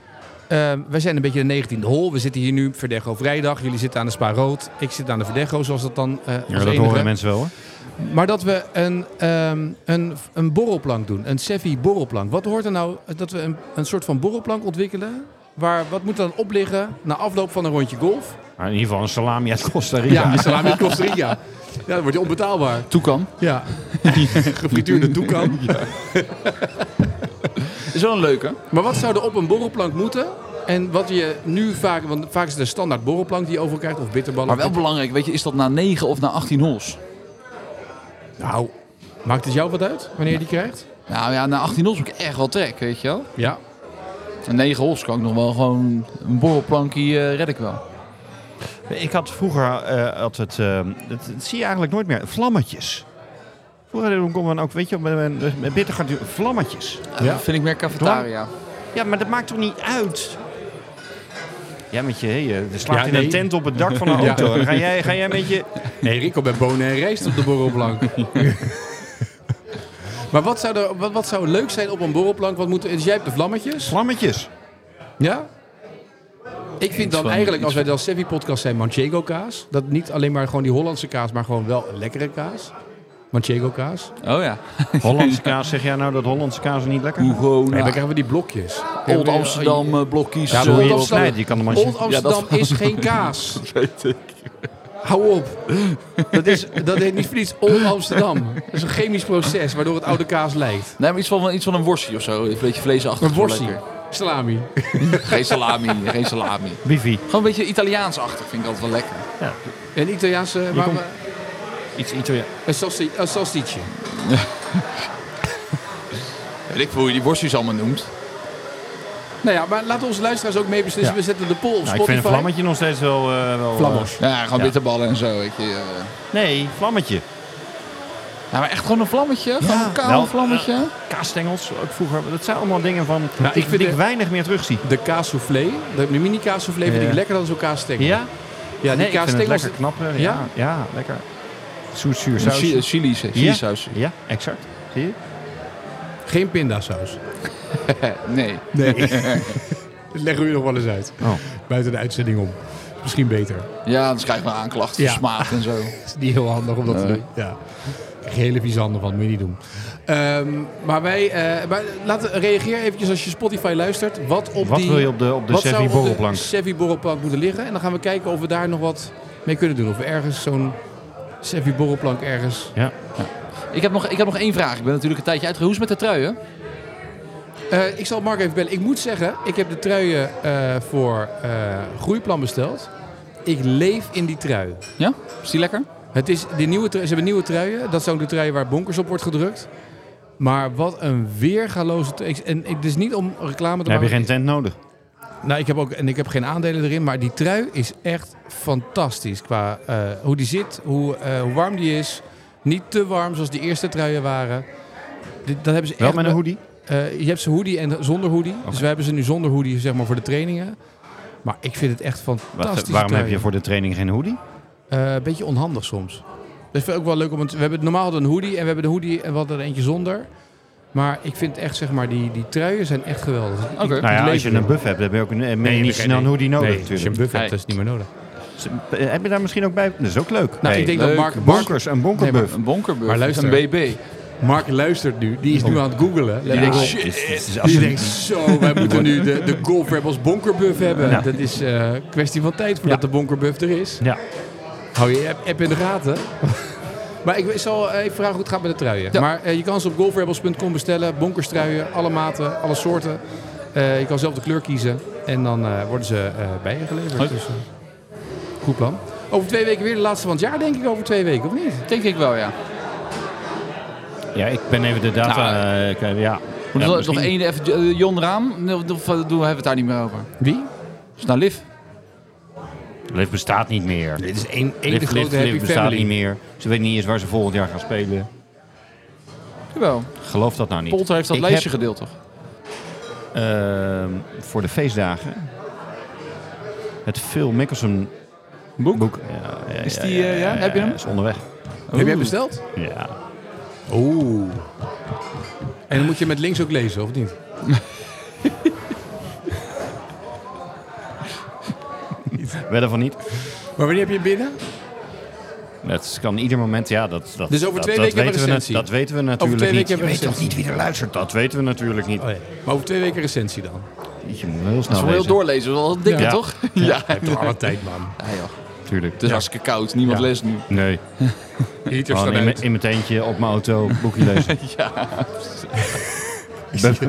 Speaker 1: Eh, wij zijn een beetje de 19e hol. We zitten hier nu, Verdecho vrijdag. Jullie zitten aan de Spa Rood. Ik zit aan de Verdecho, zoals dat dan eh als
Speaker 4: Ja, dat
Speaker 1: enige.
Speaker 4: horen mensen wel hoor.
Speaker 1: Maar dat we een, ehm, een, een borrelplank doen, een Seffi borrelplank. Wat hoort er nou dat we een, een soort van borrelplank ontwikkelen? Waar, wat moet er dan op liggen na afloop van een rondje golf?
Speaker 4: Maar in ieder geval een salami uit Costa Rica.
Speaker 1: Ja, een salami in Costa Rica. Ja, dan wordt je onbetaalbaar.
Speaker 3: Toe kan.
Speaker 1: Ja, gefrituurde toekan.
Speaker 3: Is wel een leuke.
Speaker 1: Maar wat zou er op een borrelplank moeten? En wat je nu vaak, want vaak is het een standaard borrelplank die je over elkaar krijgt, of bitterballen.
Speaker 3: Maar wel belangrijk, weet je, is dat na 9 of na 18 hols?
Speaker 1: Nou, maakt het jou wat uit wanneer je die krijgt?
Speaker 3: Nou ja, na 18 hols heb ik echt wel trek, weet je wel.
Speaker 1: Ja.
Speaker 3: Na 9 hols kan ik nog wel gewoon een borrelplankje eh, red ik wel.
Speaker 2: Ik had vroeger eh, altijd, eh, dat, dat zie je eigenlijk nooit meer, vlammetjes. Vroeger kon men ook, weet je, met, met, met bitter gaat vlammetjes.
Speaker 1: Ja.
Speaker 3: Dat vind ik meer cafetaria.
Speaker 2: Ja, maar dat maakt toch niet uit? Ja, met je,
Speaker 4: eh,
Speaker 2: hey, je slaapt
Speaker 1: Ja,
Speaker 2: in
Speaker 1: nee.
Speaker 2: een tent op het dak van een
Speaker 1: Ja.
Speaker 2: auto. Ga, jij, ga jij met je...
Speaker 1: Nee, Rico bij bonen en rijst op de borrelplank. maar wat zou, er, wat, wat zou leuk zijn op een borrelplank? Wat moet, er- dus jij hebt de vlammetjes?
Speaker 2: Vlammetjes.
Speaker 1: Ja? Ik vind dan
Speaker 3: van-
Speaker 1: eigenlijk, als
Speaker 3: iets
Speaker 1: wij
Speaker 3: van-
Speaker 1: de Sevi podcast zijn, Manchego kaas. Dat niet alleen maar gewoon die Hollandse kaas, maar gewoon wel een lekkere kaas. Manchego kaas.
Speaker 3: Oh ja.
Speaker 4: Hollandse kaas, zeg jij nou dat Hollandse kaas niet lekker is?
Speaker 3: Hugo,
Speaker 1: En dan
Speaker 3: nou,
Speaker 1: krijgen we die blokjes.
Speaker 3: Old Amsterdam eh, blokjes.
Speaker 1: Ja, maar
Speaker 3: eh,
Speaker 4: Zo je
Speaker 1: Old
Speaker 4: erop
Speaker 1: Amsterdam-
Speaker 4: snijdt, je kan hem als je-
Speaker 1: Old Amsterdam is geen kaas.
Speaker 3: weet ik.
Speaker 1: Hou op. Dat, is, dat heet niet voor niets Old Amsterdam. Dat is een chemisch proces waardoor het oude kaas lijkt.
Speaker 3: Nee, maar iets van, iets van een worstje of zo. Een beetje vleesachtig.
Speaker 1: Een
Speaker 3: is wel
Speaker 1: worstje.
Speaker 3: lekker.
Speaker 1: Salami.
Speaker 3: Geen salami, geen salami.
Speaker 4: Bifi.
Speaker 3: Gewoon een beetje Italiaansachtig vind ik altijd wel lekker.
Speaker 1: Een Italiaanse... Maar,
Speaker 4: komt- Iets Italiaans.
Speaker 1: Een, salsi, een salsicje.
Speaker 3: Weet ik veel hoe je die worstjes allemaal noemt.
Speaker 1: Nou ja, maar laten onze luisteraars ook mee beslissen.
Speaker 4: Ja.
Speaker 1: We zetten de poll op
Speaker 4: Nou, ik
Speaker 1: Spotify.
Speaker 4: vind een vlammetje nog steeds wel... eh, wel eh,
Speaker 1: Vlammers.
Speaker 3: Ja, gewoon
Speaker 4: Ja.
Speaker 3: bitterballen en zo. Weet je. eh.
Speaker 4: nee, vlammetje.
Speaker 1: Oh,
Speaker 4: Nou,
Speaker 3: Ja, maar echt gewoon een vlammetje. Gewoon een kaal
Speaker 4: Wel,
Speaker 3: vlammetje.
Speaker 4: eh, Kaasstengels, ook vroeger. Dat zijn allemaal dingen van
Speaker 1: Nou,
Speaker 4: die,
Speaker 1: ik vind
Speaker 4: die ik
Speaker 1: de-
Speaker 4: weinig meer terugzie.
Speaker 1: De kaas soufflé. De mini kaas soufflé vind ik
Speaker 4: Ja.
Speaker 1: lekkerder dan zo'n kaasstengel.
Speaker 4: Ja?
Speaker 1: Ja, die
Speaker 4: Nee, ik vind het
Speaker 1: kaasstengels...
Speaker 4: lekker knapper. Ja,
Speaker 1: Ja?
Speaker 4: ja, lekker. Zoet, zuur,
Speaker 3: Een
Speaker 4: saus.
Speaker 3: chi- Chili
Speaker 4: Ja.
Speaker 3: chili saus.
Speaker 4: Ja, exact. Zie je?
Speaker 1: Geen pindasaus.
Speaker 3: Nee.
Speaker 1: Nee. dat leggen we u nog wel eens uit.
Speaker 4: Oh.
Speaker 1: Buiten de uitzending om. Misschien beter.
Speaker 3: Ja, anders krijg ik maar aanklachten
Speaker 1: Ja.
Speaker 3: voor smaad en zo.
Speaker 1: is niet heel handig om dat te
Speaker 3: Nee.
Speaker 1: doen. Ja. Krijg je hele vieze handen van, moet je niet doen. Ehm, maar wij, eh, maar laat, reageer eventjes als je Spotify luistert. Wat, op
Speaker 4: Wat
Speaker 1: die,
Speaker 4: wil je op de, op de
Speaker 1: wat zou
Speaker 4: Sevi
Speaker 1: op
Speaker 4: borrelplank?
Speaker 1: de Sevi borrelplank moeten liggen? En dan gaan we kijken of we daar nog wat mee kunnen doen. Of we ergens zo'n Sevi borrelplank ergens...
Speaker 3: Ik heb, nog, ik heb nog één vraag. Ik ben natuurlijk een tijdje uitgehoest met de truien.
Speaker 1: Eh, ik zal Mark even bellen. Ik moet zeggen, ik heb de truien eh, voor eh, Groeiplan besteld. Ik leef in die trui.
Speaker 3: Ja? Is die lekker?
Speaker 1: Het is, die nieuwe trui- ze hebben nieuwe truien. Dat zijn ook de truien waar bonkers op wordt gedrukt. Maar wat een weergaloze... trui. Ik- En ik- het is niet om reclame te
Speaker 4: Dan
Speaker 1: maken.
Speaker 4: heb je geen tent nodig.
Speaker 1: Nou, ik heb ook, en ik heb geen aandelen erin. Maar die trui is echt fantastisch. Qua eh, hoe die zit, hoe, eh, hoe warm die is. Niet te warm zoals die eerste truien waren. Dit, dat hebben ze
Speaker 4: Wel
Speaker 1: echt
Speaker 4: met een hoodie?
Speaker 1: eh, je hebt ze hoodie en zonder hoodie. Dus wij hebben ze nu zonder hoodie zeg maar, voor de trainingen. Maar ik vind het echt
Speaker 4: Wat, eh,
Speaker 1: fantastisch.
Speaker 4: waarom heb je voor de training geen hoodie?
Speaker 1: Eh, Een beetje onhandig soms. Dat vind ik ook wel leuk. Om het, we hebben normaal hadden we een hoodie en we hebben de hoodie en we hadden er eentje zonder. Maar ik vind echt, zeg maar, die, die truien zijn echt geweldig.
Speaker 3: Oké.
Speaker 1: Ik-
Speaker 4: Nou ja,
Speaker 1: ik
Speaker 4: als je
Speaker 1: leef
Speaker 4: een
Speaker 1: er.
Speaker 4: buff hebt, dan heb je ook een, eh, niet
Speaker 1: geen-
Speaker 4: snel een hoodie nodig
Speaker 1: Nee, als je een buff
Speaker 4: natuurlijk.
Speaker 1: hebt,
Speaker 3: Nee.
Speaker 1: dat is het niet meer nodig.
Speaker 4: Eh, Heb je daar misschien ook bij? Dat is ook leuk.
Speaker 1: Nou,
Speaker 4: Hey,
Speaker 1: ik denk dat
Speaker 3: leuk.
Speaker 1: Mark, Mark,
Speaker 4: bonkers, een bonkerbuff.
Speaker 3: Een bonkerbuff.
Speaker 1: Maar luister.
Speaker 3: Een BB.
Speaker 1: Mark luistert nu. Die is
Speaker 4: Oh.
Speaker 1: nu aan het googelen.
Speaker 3: Die
Speaker 1: Let
Speaker 3: denkt,
Speaker 1: op.
Speaker 3: shit.
Speaker 4: Dit is- dit is
Speaker 1: Die
Speaker 4: absoluut-
Speaker 1: denkt, zo, wij moeten nu de, de Golf Rebels bonkerbuff hebben. Dat is eh kwestie van tijd voordat
Speaker 4: Ja.
Speaker 1: de bonkerbuff er is.
Speaker 4: Ja.
Speaker 1: Hou je app, app in de gaten. maar ik zal eh, even vragen hoe het gaat met de truien.
Speaker 3: Ja.
Speaker 1: Maar eh, je kan ze op golfrebels.com bestellen. Bonkerstruien, alle maten, alle soorten. Eh, je kan zelf de kleur kiezen. En dan eh, worden ze eh, bij je geleverd. Dus, eh, goed plan. Over twee weken weer de laatste van het jaar, denk ik. Over twee weken, of niet?
Speaker 3: Denk ik wel, ja.
Speaker 4: Ja, ik ben even de
Speaker 3: Nou,
Speaker 4: data... eh, ik, eh, ja.
Speaker 3: Maar
Speaker 4: Ja,
Speaker 3: er is
Speaker 4: misschien.
Speaker 3: nog één, even eh, Jon Raam. Nee, Of, of, eh, doen we hebben het daar niet meer over.
Speaker 1: Wie?
Speaker 3: Dus naar Liv.
Speaker 4: Liv bestaat niet meer.
Speaker 1: Dit is één, één
Speaker 4: Liv,
Speaker 1: de
Speaker 4: Liv,
Speaker 1: grote
Speaker 4: Liv
Speaker 1: happy
Speaker 4: bestaat niet
Speaker 1: family.
Speaker 4: meer. Ze weten niet eens waar ze volgend jaar gaan spelen.
Speaker 3: Jawel.
Speaker 4: Geloof dat nou niet.
Speaker 3: Polter heeft dat
Speaker 4: Ik
Speaker 3: lijstje
Speaker 4: heb,
Speaker 3: gedeeld, toch?
Speaker 4: ehm, voor de feestdagen het Phil Mickelson boek. Ja,
Speaker 3: Is die, eh, ja? Heb je hem?
Speaker 4: Is onderweg.
Speaker 1: Heb jij besteld?
Speaker 4: Ja.
Speaker 1: Oeh. En dan moet je met links ook lezen, of niet?
Speaker 4: Wedden van niet.
Speaker 1: Maar wanneer heb je hem binnen?
Speaker 4: Dat kan ieder moment, ja. Dat, dat,
Speaker 1: Dus over
Speaker 4: dat-
Speaker 1: twee
Speaker 4: dat
Speaker 1: weken hebben we
Speaker 4: weten we, nat-
Speaker 1: recensie.
Speaker 4: Dat weten we natuurlijk
Speaker 1: twee
Speaker 4: niet.
Speaker 1: weken
Speaker 4: Je
Speaker 1: hebben
Speaker 4: weet
Speaker 1: we
Speaker 4: toch niet
Speaker 1: recensie. Oh,
Speaker 4: wie er luistert? Dat weten we natuurlijk niet.
Speaker 1: Maar over twee weken recensie dan.
Speaker 4: Je moet wel heel snel
Speaker 3: Dat is wel heel
Speaker 4: lezen.
Speaker 3: doorlezen, dat is wel wat dikker,
Speaker 4: Ja.
Speaker 3: toch? Ja.
Speaker 1: Hij heeft toch alle tijd, man.
Speaker 3: Ja, joh.
Speaker 4: Tuurlijk.
Speaker 3: Het is hartstikke koud, niemand
Speaker 4: Ja.
Speaker 3: leest nu.
Speaker 4: Nee,
Speaker 1: Heaters
Speaker 4: gewoon
Speaker 1: gaan
Speaker 4: in, mijn-
Speaker 1: uit.
Speaker 4: in mijn teentje, op mijn auto, boekje lezen. ja.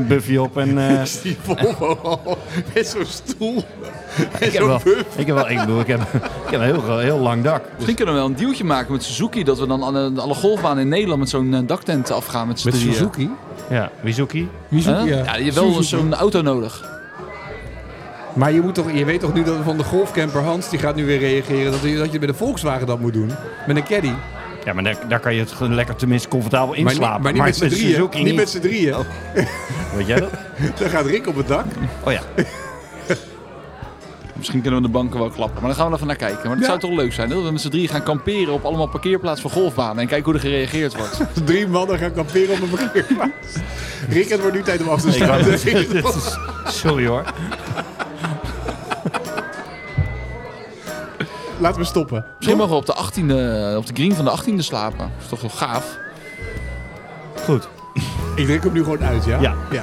Speaker 4: Buffy op en... eh,
Speaker 1: Die Volvo al met zo'n stoel. En
Speaker 4: ik, heb
Speaker 1: zo'n
Speaker 4: wel,
Speaker 1: buff.
Speaker 4: ik heb wel... Ik bedoel, ik heb, ik heb een heel, heel lang dak.
Speaker 3: Misschien kunnen we wel een dealtje maken met Suzuki. Dat we dan alle, alle golfbanen in Nederland met zo'n eh, daktent afgaan. Met, z'n drieën.
Speaker 4: Ja, Wizuki.
Speaker 1: Wie
Speaker 3: Huh? Ja, je hebt wel zo'n auto nodig.
Speaker 1: Maar je, moet toch, je weet toch nu dat van de golfcamper Hans, die gaat nu weer reageren, dat, je- dat je bij de Volkswagen dat moet doen. Met een caddy.
Speaker 4: Ja, maar daar, daar kan je het gewoon lekker tenminste comfortabel
Speaker 1: Maar, niet-
Speaker 4: inslapen.
Speaker 1: maar niet met z'n drieën.
Speaker 4: Suzuki
Speaker 1: Niet. met z'n drieën.
Speaker 4: Weet jij dat?
Speaker 1: Oh, Dan gaat Rick op het dak.
Speaker 4: Oh ja.
Speaker 3: Misschien kunnen we de banken wel klappen. Maar dan gaan we even naar kijken. Maar het
Speaker 1: Ja.
Speaker 3: zou toch leuk zijn hè, dat we met z'n drie gaan kamperen op allemaal parkeerplaatsen voor golfbanen. En kijken hoe er gereageerd wordt.
Speaker 1: Drie mannen gaan kamperen op een parkeerplaats. Rick, het wordt nu tijd om af te staan.
Speaker 4: Sorry hoor.
Speaker 1: Laten we stoppen.
Speaker 3: Misschien mogen we op de, 18e, op de green van de 18e slapen. Dat is toch wel gaaf.
Speaker 4: Goed.
Speaker 1: Ik druk hem nu gewoon uit, ja?
Speaker 4: Ja.
Speaker 1: ja.